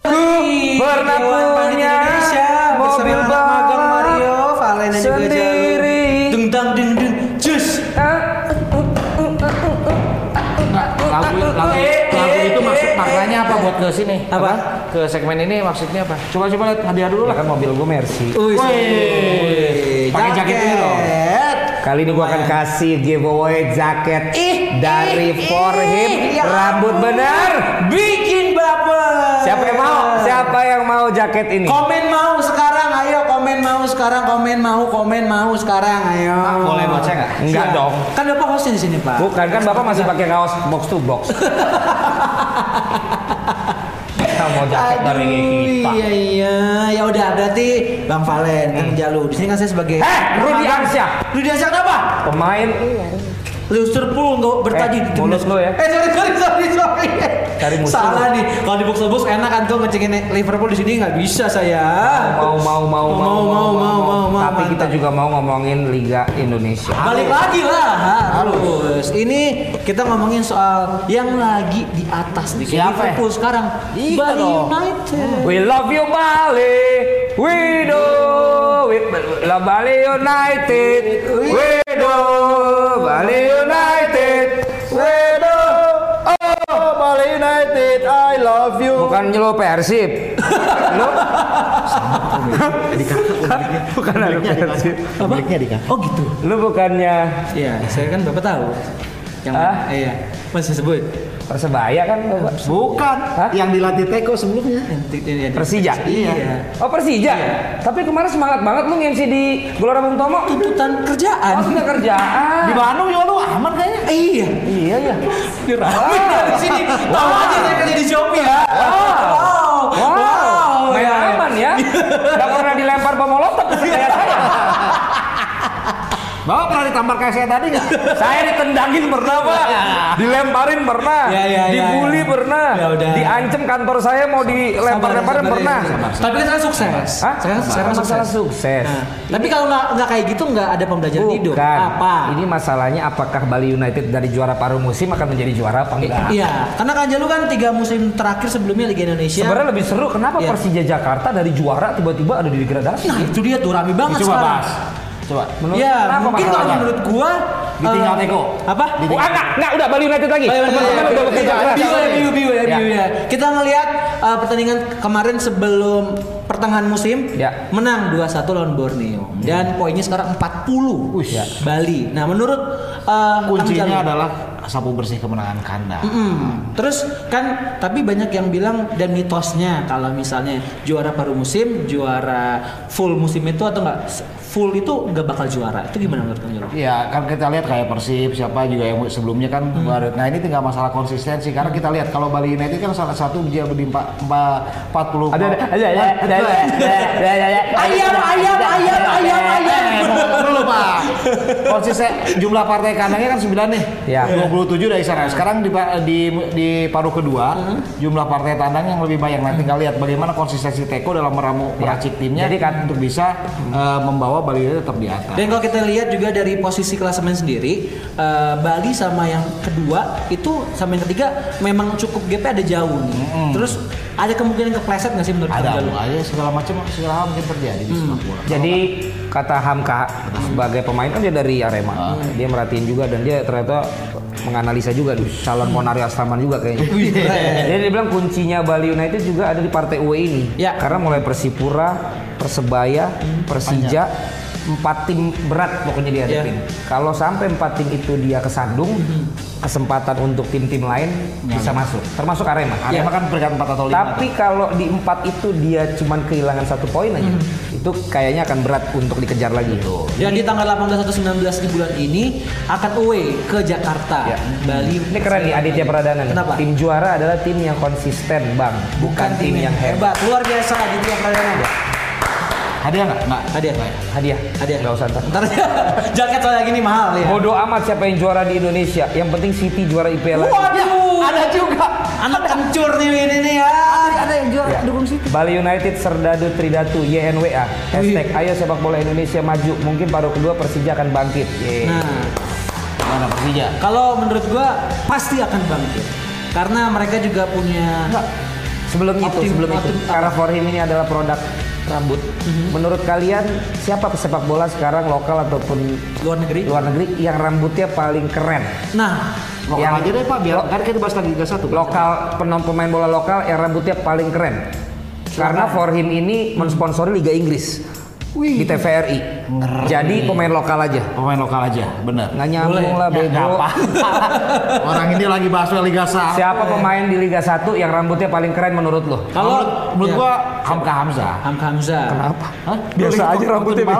D: Iya,
E: Pernah
D: Dewan Pandit
E: punya
D: Indonesia bersama
E: mobil
D: anak
E: balap
D: magang Mario, Valen dan juga
E: sendiri.
D: Jalu. Dung dang dung dung, jus.
C: Lagu, lagu,
D: Eh,
C: lagu itu maksud maknanya apa buat ke sini?
D: Apa?
C: Ke segmen ini maksudnya apa? Ya Coba coba lihat hadiah dulu
E: Lah
C: lah.
E: kan mobil gue Mercy.
D: Wih,
C: Pakai jaket ini dong.
E: Kali ini gua akan kasih giveaway jaket dari For Him
D: Ya
E: rambut benar.
D: Bikin baper.
E: Siapa yang mau? Siapa yang mau jaket ini?
D: Komen mau sekarang, ayo komen mau sekarang, komen mau, komen mau sekarang, ayo.
C: boleh buat saya nggak?
E: Enggak
D: Iya.
E: dong.
D: Kan bapak hostnya di sini pak.
E: Bukan kan Bapak masih pakai kaos box to box. Kita mau jaket dari kita.
D: iya iya. Ya udah berarti Bang Valen, Kang Jalu. Di sini kan saya sebagai
E: Hmm. Eh, Rudi Arsyah.
D: Rudi Arsyah kenapa?
E: Pemain
D: Iya. Lusur pul nggak bertaji.
E: Eh, mulus lu ya.
D: Eh sorry sorry sorry sorry.
E: Cari musuh.
D: Salah nih. Kalau di box to box enak kan tuh ngecengin Liverpool di sini nggak bisa saya.
E: mau mau mau
D: Mau, mau, mau, mau, mau, mantap.
E: Tapi kita juga mau ngomongin Liga Indonesia.
D: Balik lagi lah harus. Ini kita ngomongin soal yang lagi di atas di
C: Siapa ya?
D: Liverpool sekarang.
C: Iya
D: Bali
C: dong.
D: United.
E: We love you Bali. We do. We love Bali United. We do. Bali United. We do.
C: Oh, Bali United, I love you.
E: Bukan lo Persib. Lo bukan lo Persib.
D: Apa?
E: Hmm.
D: Oh gitu.
E: Lo bukannya
D: Iya, saya kan Bapak tahu. Yang
E: Hah?
D: mana? Iya. Masih sebut.
E: Persebaya kan? Bapak?
C: Bukan.
E: Hah?
C: Yang dilatih Teko sebelumnya.
E: Persija.
D: Iya.
E: Oh Persija. Tapi kemarin semangat banget lu ngemsi di Gelora Bung Tomo.
D: Tuntutan kerjaan.
E: Oh, sudah kerjaan.
C: Di Bandung juga lu aman kayaknya.
D: Iya.
E: Iya ya.
D: Ini rame dari Iya, sini. Tahu aja saya kerja di Shopee ya. Wow.
E: Wow. Main
D: Ya.
E: aman ya. Gak pernah dilempar bom molotov ke saya. saya.
C: Bapak pernah ditampar kayak saya tadi nggak?
E: Saya ditendangin pernah, Pak.
D: Iya.
E: Dilemparin pernah.
D: Ya, ya, ya,
E: Dibully
D: ya.
E: pernah.
D: Ya udah.
E: Diancem kantor saya mau dilempar-lemparin
D: Sabar,
E: pernah.
D: sabar. Tapi kan saya sukses.
E: Hah?
D: Saya, saya kan sukses.
E: Apa masalah sukses.
D: Nah, tapi kalau nggak nggak kayak gitu nggak ada pembelajaran hidup. Apa?
E: Ini masalahnya apakah Bali United dari juara paruh musim akan menjadi juara apa enggak?
D: Iya, karena Kang Jalu kan tiga musim terakhir sebelumnya Liga Indonesia.
E: Sebenarnya lebih seru kenapa
D: Iya.
E: Persija Jakarta dari juara tiba-tiba ada di degradasi?
D: Nah, itu dia tuh rame banget
C: Coba
D: sekarang.
C: bahas. Coba.
E: Menurut-
D: Iya,
E: kenapa
D: mungkin kalau
E: masalahnya?
D: menurut gua
C: Ditinggal
D: eh,
C: Teko.
D: Apa?
E: Oh, enggak, enggak, udah Bali United lagi.
D: Bali United
E: Teman-teman
D: lagi.
E: udah bekerja
D: Biu
E: keras.
D: ya, biu, biu ya, biu ya. Kita ngelihat eh, pertandingan kemarin sebelum pertengahan musim
E: Ya.
D: menang 2-1 lawan Borneo
C: Hmm.
D: dan poinnya sekarang 40
C: Wih. Ya.
D: Bali. Nah, menurut eh, Kang Jalu-
C: Kuncinya adalah sapu bersih kemenangan kandang.
D: Mm-mm. Terus kan tapi banyak yang bilang dan mitosnya kalau misalnya juara paruh musim, juara full musim itu atau enggak full itu nggak bakal juara. Itu gimana menurut Kang Jolo?
C: Ya kan kita lihat kayak Persib siapa juga yang sebelumnya kan
E: Hmm.
C: baru- Nah ini tinggal masalah konsistensi karena kita lihat kalau Bali United kan salah satu dia di empat- empat- 40
E: Ada, ada, ada, ada, ada, ada, ada, ada, ada.
D: Ayam, ayam, ayam, ayam, ayam.
C: Eh, tunggu dulu Pak. Konsisten jumlah partai kandangnya kan 9 nih.
E: Ya.
C: 27 dari
E: Iya.
C: sana. Sekarang di pa- di di paruh kedua
E: Hmm.
C: jumlah partai tandang yang lebih banyak. Nah, tinggal lihat bagaimana konsistensi Teko dalam meramu meracik timnya
E: Iya. Jadi kan-
C: untuk bisa eh, membawa Bali United tetap di atas.
D: Dan kalau kita lihat juga dari posisi klasemen sendiri, eh, Bali sama yang kedua itu sama yang ketiga memang cukup GP ada jauh nih. Terus ada kemungkinan kepleset nggak sih menurut Kang
C: Ada
D: Jalu?
C: aja Ah, iya, segala macam segala hal mungkin terjadi di sepak bola.
E: Jadi kata Hamka sebagai pemain kan dia dari Arema. Dia merhatiin juga dan dia ternyata menganalisa juga di calon Ponari Astaman juga kayaknya. Jadi dia bilang kuncinya Bali United juga ada di partai UE ini.
D: Ya.
E: Karena mulai Persipura, Persebaya, Persija, empat tim berat pokoknya dihadapin. Kalau sampai empat tim itu dia kesandung, kesempatan untuk tim-tim lain bisa masuk, termasuk Arema.
C: Arema kan peringkat 4 atau 5.
E: Tapi kalau di empat itu dia cuman kehilangan satu poin aja, itu kayaknya akan berat untuk dikejar lagi.
D: Dan di tanggal 18 atau 19 di bulan ini akan away ke Jakarta,
E: Ya.
D: Bali.
E: Ini keren nih Aditya Pradana nih.
D: Kenapa?
E: Tim juara adalah tim yang konsisten, Bang. Bukan, tim, yang hebat. Ya.
D: Luar biasa Aditya Pradana.
C: Hadiah nggak? Nggak.
D: Hadiah.
E: Hadiah.
D: Hadiah.
E: Nggak usah ntar.
D: Ntar jaket soalnya gini mahal ya.
E: Bodoh amat siapa yang juara di Indonesia. Yang penting City juara IPL. lagi.
D: Waduh.
C: Ada juga.
D: Anak kencur nih ini nih ya.
C: Ada yang juara dukung City.
E: Ya. Bali United Serdadu Tridatu YNWA Hashtag Ayo sepak bola Indonesia maju Mungkin paruh kedua Persija akan bangkit Yeay.
D: Nah,
C: Mana Persija?
D: kalau menurut gua pasti akan bangkit. Karena mereka juga punya
E: Enggak. Sebelum itu,
D: Optim-
E: sebelum itu.
D: optim-
E: Karena for him ini adalah produk rambut. Menurut kalian siapa pesepak bola sekarang lokal ataupun
D: luar negeri.
E: luar negeri yang rambutnya paling keren?
D: Nah,
C: Lokal
E: Yang-
C: aja deh Pak, biar
E: Lo-
C: kan kita bahas lagi Liga 1. kan?
E: Lokal penom pemain bola lokal yang rambutnya paling keren. Karena for him ini mensponsori Liga Inggris di TVRI. Jadi pemain lokal aja.
C: Pemain lokal aja, bener.
E: Nggak nyambung
D: Boleh.
E: lah
C: Ya, nggak
E: bego.
C: apa. Orang ini lagi bahas Liga 1.
E: Siapa pemain di Liga 1 yang rambutnya paling keren menurut lo?
D: kalau
C: menurut
D: ya,
C: gua Hamka Hamzah.
D: Hamka Hamzah.
E: Kenapa?
C: Hah?
E: Biasa aja rambutnya, Bi.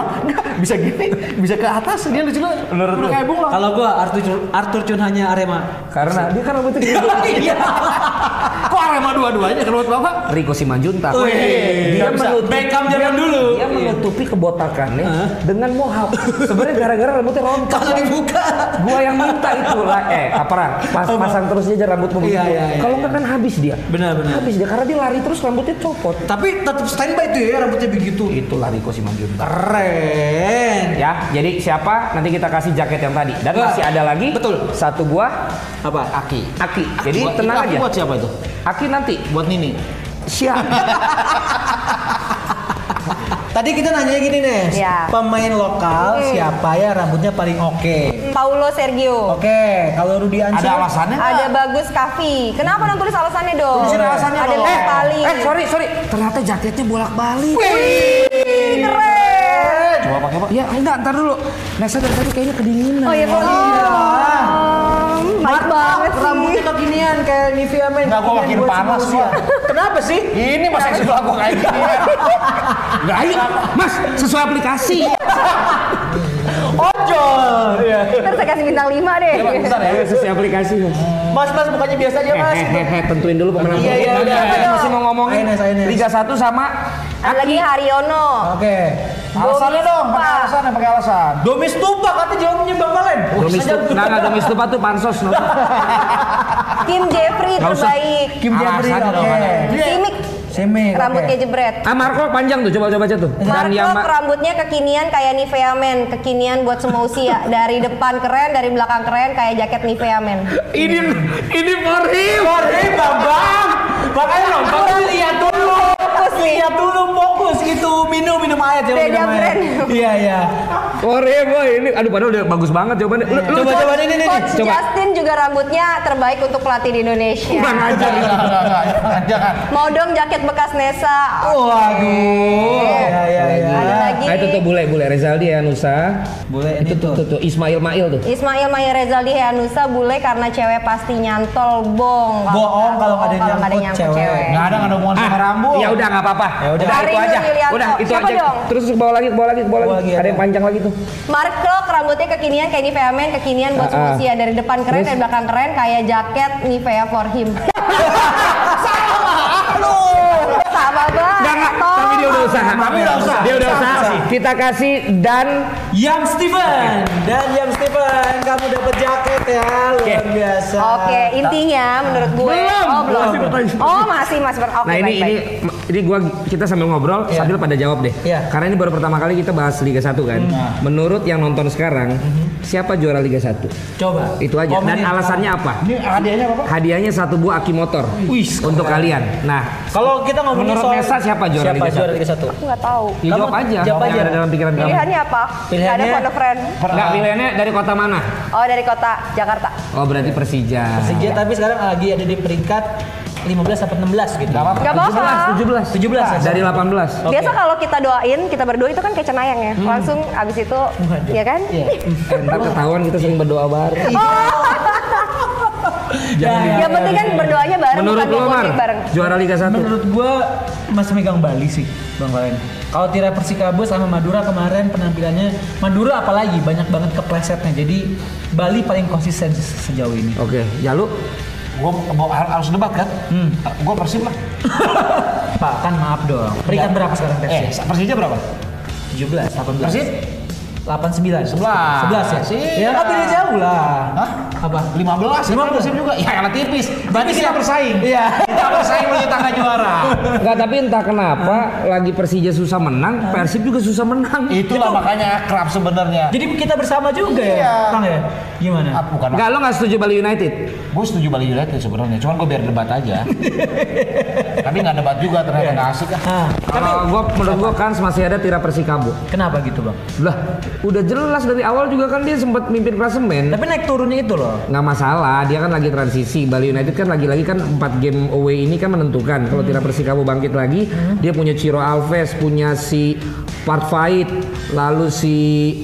C: bisa gini, bisa ke atas dia lucu banget.
E: Menurut lu?
C: kayak bunglon.
D: Kalau gua Arthur Arthur Cun hanya Arema.
E: Karena dia kan rambutnya gede.
C: Kok Arema dua-duanya menurut Bapak?
E: Rico Simanjuntak.
D: Wih,
E: dia
D: dia iya, bisa.
E: menutup-
D: Beckham zaman dulu.
E: Dia menutupi kebotakannya
D: Hah?
E: dengan mohawk. Sebenarnya gara-gara rambutnya rontok.
D: Kalau dibuka.
E: Gua yang minta itu lah. Eh, aparan, pas pasang terus aja rambutmu
D: Iya,
E: begitu.
D: iya, iya,
E: Kalau
D: iya.
E: enggak kan habis dia.
D: Benar, benar.
E: Habis dia karena dia lari terus rambutnya copot.
D: Tapi tetap standby tuh ya rambutnya begitu.
E: Itulah Rico Simanjuntak.
D: Keren.
E: Ya, jadi siapa? Nanti kita kasih jaket yang tadi. Dan
D: Wah,
E: masih ada lagi.
D: betul.
E: Satu gua,
D: Apa?
E: Aki. Aki. Jadi
C: Buat-
E: tenang
C: Aki
E: aja.
C: Buat siapa itu?
E: Aki nanti.
C: Buat Nini.
E: Siap.
D: Tadi kita nanya gini Nes,
B: Ya.
D: pemain lokal siapa ya rambutnya paling oke?
B: Paulo Sergio.
D: Oke, kalau Rudi Ansyah
C: Ada alasannya?
B: Ada bagus Kavi. Kenapa dong tulis alasannya dong?
C: Tulisin alasannya
B: Ada
C: dong.
B: Mas Pali.
E: eh, sorry, sorry. Ternyata jaketnya bolak-balik.
B: Ih, keren.
C: Coba pakai Pak.
E: Ya enggak, ntar dulu. Nesa dari tadi kayaknya kedinginan.
B: Oh iya, Pak. Baik banget sih.
D: Rambutnya kekinian kayak Nivea men.
C: Nggak, gua makin
D: Kekinian buat
C: panas
D: semua
C: gua.
D: usia. Kenapa sih?
C: Ini masa sebelah gua kayak gini.
E: Enggak, ayo. Mas, sesuai aplikasi.
B: Iya.
D: Ojol. Iya.
B: Ntar saya kasih bintang 5 deh.
C: Bentar ya.
E: Ayo, sesuai aplikasi.
D: Mas mas bukannya biasa aja mas.
E: Hehehe, tentuin dulu pemenang.
D: Iya, iya,
E: Nanti
D: iya.
E: kita masih mau ngomongin
D: Ayo, Nes, ayo, Nes.
E: Liga 1 sama
B: Ada lagi Haryono.
D: Oke.
C: Alasannya dong, pakai alasan, ya, pakai alasan.
D: Domis Tupak katanya jawabnya Bang Valen. Oh,
E: Domis
D: Saja-
E: Tupa. Enggak, enggak, Domis Tupa tuh pansos. no.
B: Kim Jeffrey
E: Nggak usah.
B: terbaik.
D: Kim Jabri.
C: Alasannya dong,
D: Oke. Iya.
C: ada.
B: Simik.
D: Semik, oke.
B: Rambutnya jebret.
E: Ah, Marco panjang tuh, coba coba baca tuh. Dan yang
B: Marco rambutnya kekinian kayak Nivea Men, kekinian buat semua usia. Dari depan keren, dari belakang keren kayak jaket Nivea Men.
E: ini ini for him.
D: Sorry, Bambang. Makanya nonton lihat dulu.
B: Fokus sih.
D: Lihat dulu fokus gitu. Minum minum air coba
B: Beda
D: minum air.
B: brand.
D: Iya iya.
E: Korea boy ini aduh padahal udah bagus banget jawabannya. Lu, lu
D: Coba coba ini nih.
B: Coach
E: coba.
B: Justin juga rambutnya terbaik untuk pelatih di Indonesia.
E: kurang ajar.
B: Mau dong jaket bekas Nesa.
D: Oh. Waduh. Iya iya iya.
B: Ada lagi.
E: Nah, itu tuh bule bule Rezaldi ya Nusa.
D: Boleh ini
E: Itu
D: tuh.
E: tuh, tuh Ismail Mail tuh.
B: Ismail Maya Rezaldi Heanusa bule karena cewek pasti nyantol bong. Kalau
D: Bohong
B: nggak-
D: kalau nggak ada yang
B: kalau nggak
D: nyangkut cewek.
C: Nggak ada nggak ada hubungan sama rambut.
E: Ya udah nggak apa-apa.
D: Ya udah.
E: itu
B: Karin
E: aja.
B: Yulianto.
E: Udah itu
B: Siapa
E: aja.
B: dong?
E: Terus ke bawah lagi, ke bawah lagi, ke bawah
D: Bawah
E: lagi. ya.
D: lagi,
E: Ada
D: ada.
E: yang panjang lagi tuh.
B: Mark Klok rambutnya kekinian kayak Nivea Men kekinian buat
E: Ah, ah.
B: semua usia dari depan keren
E: Terus?
B: dari belakang keren kayak jaket Nivea for him. Sama banget.
E: Enggak, enggak. Tapi dia udah usaha.
C: Tapi udah usaha.
E: Dia udah
C: Usaha,
E: usaha.
C: usaha.
E: Kita kasih dan
D: Yang Steven dan Yang Steven kamu dapat jaket ya luar
E: Oke.
D: biasa.
B: Oke, intinya menurut gue
E: Belum.
B: Oh, belum.
E: Masih pertanyaan.
B: Oh, masih masih ber- Oke,
E: Nah, ini ini
B: baik-baik.
E: ini gua kita sambil ngobrol,
D: Iya.
E: sambil pada jawab deh.
D: Iya.
E: Karena ini baru pertama kali kita bahas Liga 1 kan. Menurut yang nonton sekarang, siapa juara Liga 1?
D: Coba.
E: Itu aja. Dan
D: Komenin.
E: alasannya apa?
C: Ini hadiahnya apa?
E: Hadiahnya satu buah aki motor
D: Wih,
E: untuk
D: keren.
E: kalian. Nah,
D: Kalau kita ngomongin
E: Menurut
D: soal
E: Nesa siapa juara
D: siapa
E: Liga
D: juara
E: satu?
D: Liga satu?
B: aku nggak tahu.
E: ya
D: Kamu
E: jawab aja. Iya,
D: jawab
E: Yang
D: aja.
E: ada dalam pikiran kamu.
B: Pilihannya apa? Nggak ada
D: Pilihannya-
B: pondok friend.
E: Enggak, pilihannya dari kota mana?
B: Oh, dari kota Jakarta.
E: Oh, berarti Persija.
D: Persija tapi sekarang lagi ada di peringkat 15 atau 16 gitu.
B: Nggak apa-apa.
E: 17, 17.
D: 17 ya?
E: Dari 18.
B: Biasa kalau kita doain, kita berdoa itu kan kayak cenayang
E: Hmm.
B: ya. Langsung abis itu,
D: Waduh.
B: ya kan?
D: Iya.
E: Eh, Ntar ketahuan kita sering berdoa bareng.
B: Oh.
D: Ya, ya,
B: Yang penting kan berdoanya bareng,
E: Iya. Menurut
B: bukan
E: lo, Mar,
B: ngomongin bareng.
E: juara Liga 1.
D: Menurut gua masih megang Bali sih Bang Valen. Kalau Tira Persikabo sama Madura kemarin penampilannya Madura apalagi banyak banget keplesetnya. Jadi Bali paling konsisten se- sejauh ini.
E: Oke, ya Jalu.
C: Gue harus debat kan?
D: Hmm.
C: Gue persib lah.
D: Pak, kan maaf dong. Peringkat berapa sekarang
C: Eh,
D: Persija?
C: Persija berapa?
D: 17, 18.
C: Persib?
D: 89.
C: 11.
D: 11 ya?
C: Iya.
D: Ya kan beda jauh lah.
C: Hah?
D: Apa?
C: 15 kan
D: 15.
C: persib juga. Ya elah tipis. Berarti
D: Tipis
C: kita
D: ya?
C: bersaing.
D: Iya.
C: Kita bersaing menuju tangga juara.
E: Enggak, tapi entah kenapa lagi Persija susah menang, Persib juga susah menang.
C: Itulah makanya kerap sebenarnya.
D: Jadi kita bersama juga
C: Iya.
D: ya, Kang ya? Gimana?
C: Ah, bukan
E: Enggak, lo nggak setuju Bali United?
C: gue setuju Bali United sebenarnya cuman gue biar debat aja tapi nggak debat juga ternyata nggak asik ah.
D: Ah, tapi
E: Kalau Eh, gua, menurut gua kan masih ada Tira Persikabo.
D: kenapa gitu, Bang?
E: Lah, udah jelas dari awal juga kan dia sempat mimpin klasemen.
D: Tapi naik turunnya itu loh.
E: nggak masalah dia kan lagi transisi Bali United kan lagi-lagi kan 4 game away ini kan menentukan
B: Hmm.
E: kalau tidak Persikabo bangkit lagi dia punya Ciro Alves punya si Parfait lalu si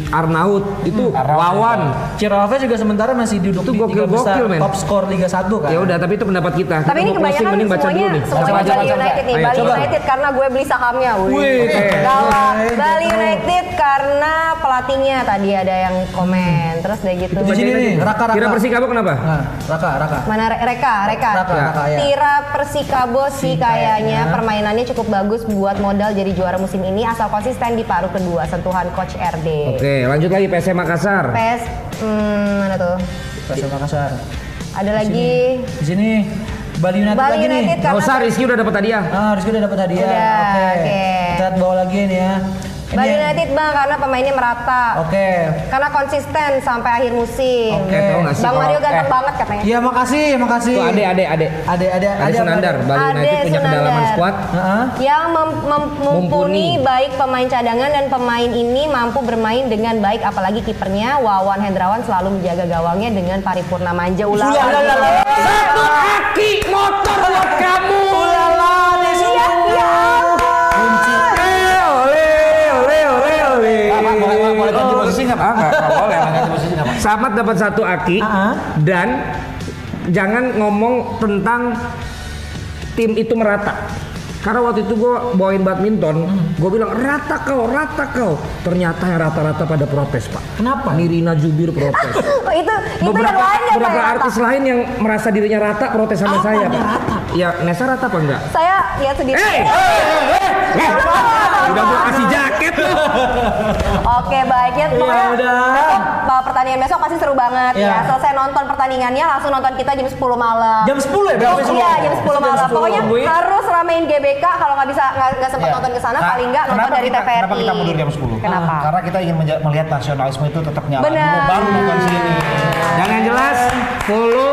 E: Arnaut itu
B: Hmm,
E: lawan
D: Ciro Alves juga sementara masih duduk
E: Itu
D: di tiga
E: gokil-gokil,
D: besar
E: men.
D: top skor Liga 1 kan.
E: ya udah tapi itu pendapat kita
B: Tapi
E: Kita
B: ini
E: mau closing,
B: kebanyakan
E: mending baca
B: semuanya,
E: dulu nih
B: semuanya
E: Baca,
B: Bali
E: baca, baca.
B: United nih.
E: Ayo,
B: Bali
E: coba.
B: United karena gue beli sahamnya.
D: Wih,
B: Wih,
D: keren.
B: galak.
D: Keren.
B: Bali United karena pelatihnya tadi ada yang komen. Terus udah gitu.
D: Di sini nih, Raka Raka.
E: Tira Persikabo kenapa
D: Nah, Raka Raka.
B: Mana Re- Reka? Reka.
D: Raka Raka ya.
B: Tira Persikabo sih
D: Si kayaknya.
B: kayaknya permainannya cukup bagus buat modal jadi juara musim ini asal konsisten di paruh kedua sentuhan coach RD.
E: oke lanjut lagi PSM Makassar
B: PS hmm, mana tuh?
D: Persib Makassar.
B: Ada lagi
D: Di sini Bali United
B: Bali
D: lagi
B: United
D: nih.
E: nggak
B: karena
E: usah Rizky udah dapat hadiah
D: Ah, harus udah dapat hadiah.
B: Udah,
D: Oke.
B: oke.
D: Kita bawa lagi nih ya. Ini-
B: Bali United bang karena pemainnya merata.
D: Oke.
B: Karena konsisten sampai akhir musim.
E: oke tau nggak sih
B: Bang Mario
E: kalau-
B: ganteng
E: eh,
B: banget katanya.
D: Iya, makasih, makasih.
E: tuh ade ade ade
D: Ada ada
E: ade Sunandar Bali
B: Ade
E: United punya kedalaman
B: Sunandar.
E: skuad
D: Heeh.
B: Yang mem- mem- mumpuni baik pemain cadangan dan pemain ini mampu bermain dengan baik apalagi kipernya Wawan Hendrawan selalu menjaga gawangnya dengan paripurna manja ulah.
D: Ulala, ulala.
E: satu aki motor buat kamu
D: Ulala, di
B: Iya, iya.
D: Kunci.
E: Ole, ole, ole, ole.
C: Pak, boleh, boleh, boleh ganti posisi nggak pak?
E: Ah, nggak, nggak boleh.
C: ganti posisi nggak pak?
E: Samat dapat satu aki
D: Ah, ah.
E: dan jangan ngomong tentang tim itu merata. Karena waktu itu gue bawain badminton,
D: Hmm.
E: gue bilang rata kau, rata kau. Ternyata yang rata-rata pada protes pak.
D: Kenapa?
E: Nirina Jubir protes.
B: Oh, itu itu yang
E: beberapa
B: lain ya
E: beberapa
B: Pak?
E: artis lain yang merasa dirinya rata protes sama saya pak. Ya Nesa rata apa enggak?
B: Saya lihat sendiri.
E: Hey! Eh, udah gua kasih jaket lu.
B: Oke baiknya pokoknya
D: udah.
B: besok uh, pertandingan besok pasti seru banget
D: Iya.
B: ya. Selesai nonton pertandingannya langsung nonton kita jam 10 malam.
D: Jam 10 ya?
B: Oh, iya jam 10 malam. Pokoknya
D: Tungguin.
B: harus ramein GBK kalau nggak bisa nggak nggak sempat
C: Iya.
B: nonton ke sana
C: Nah,
B: paling nggak nonton
C: kenapa
B: dari
C: kita-
B: TVRI.
C: Kenapa kita mundur jam 10?
B: Kenapa?
C: Karena kita ingin menja- melihat nasionalisme itu tetap nyala
B: Benar.
C: dulu baru nonton sini.
E: Dan yang jelas follow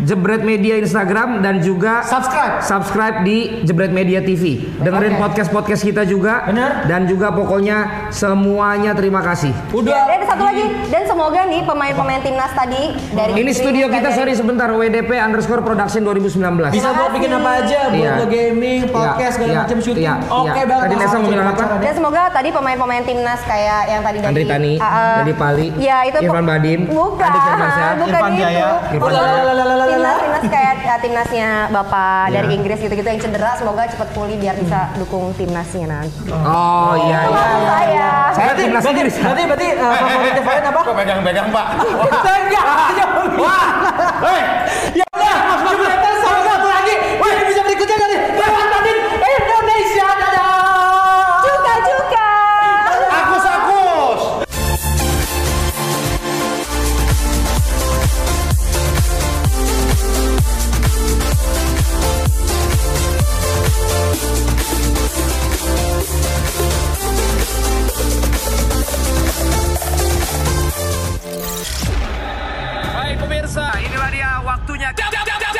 E: Jebret Media Instagram dan juga
C: Subscribe.
E: subscribe di Jebret Media TV. Dengerin podcast-podcast kita juga.
C: Bener.
E: Dan juga pokoknya semuanya terima kasih.
B: Ya, dan satu lagi dan semoga nih pemain-pemain timnas tadi dari
E: Ini
B: Putri
E: studio
B: juga
E: kita
B: dari-
E: sorry sebentar WDP underscore production 2019.
D: Bisa buat bikin apa aja, buat
E: Iya.
D: lo gaming, podcast, segala
E: Iya,
D: macam syuting.
E: iya,
D: Oke
E: iya.
D: banget.
E: Tadi Nessa mau bilang apa?
B: Dan semoga tadi pemain-pemain timnas kayak yang tadi
E: Andri Tani,
B: Ah, ah.
E: Dadi Pali,
B: ya itu po-
E: Irfan Badim,
B: bukan,
E: Andi Firmansyah,
B: bukan
C: Irfan
B: itu.
C: Jaya,
E: Irfan
B: Pemain
D: Jaya. Lalalala.
B: Timnas, timnas kayak ah, timnasnya bapak dari
E: Ya.
B: Inggris gitu-gitu yang cedera, semoga cepet pulih biar bisa dukung timnasnya nanti.
E: Oh iya iya.
B: Maksud saya.
E: Saya
D: Berarti,
E: timnas
D: berarti,
E: Inggris.
D: berarti, berarti, eh, favoritnya Faren apa?
F: Kok pegang-pegang, Pak?
D: Saya enggak, saya mau bilang.
F: Hei!
D: Ya udah, jembatan sama satu lagi. Wah, ini bisa berikutnya dari Dewan Bandit Indonesia. Dadah.
B: Cuka cuka.
F: Akus-akus!
A: Baik pemirsa, inilah dia waktunya. Jam, jam, jam, jam,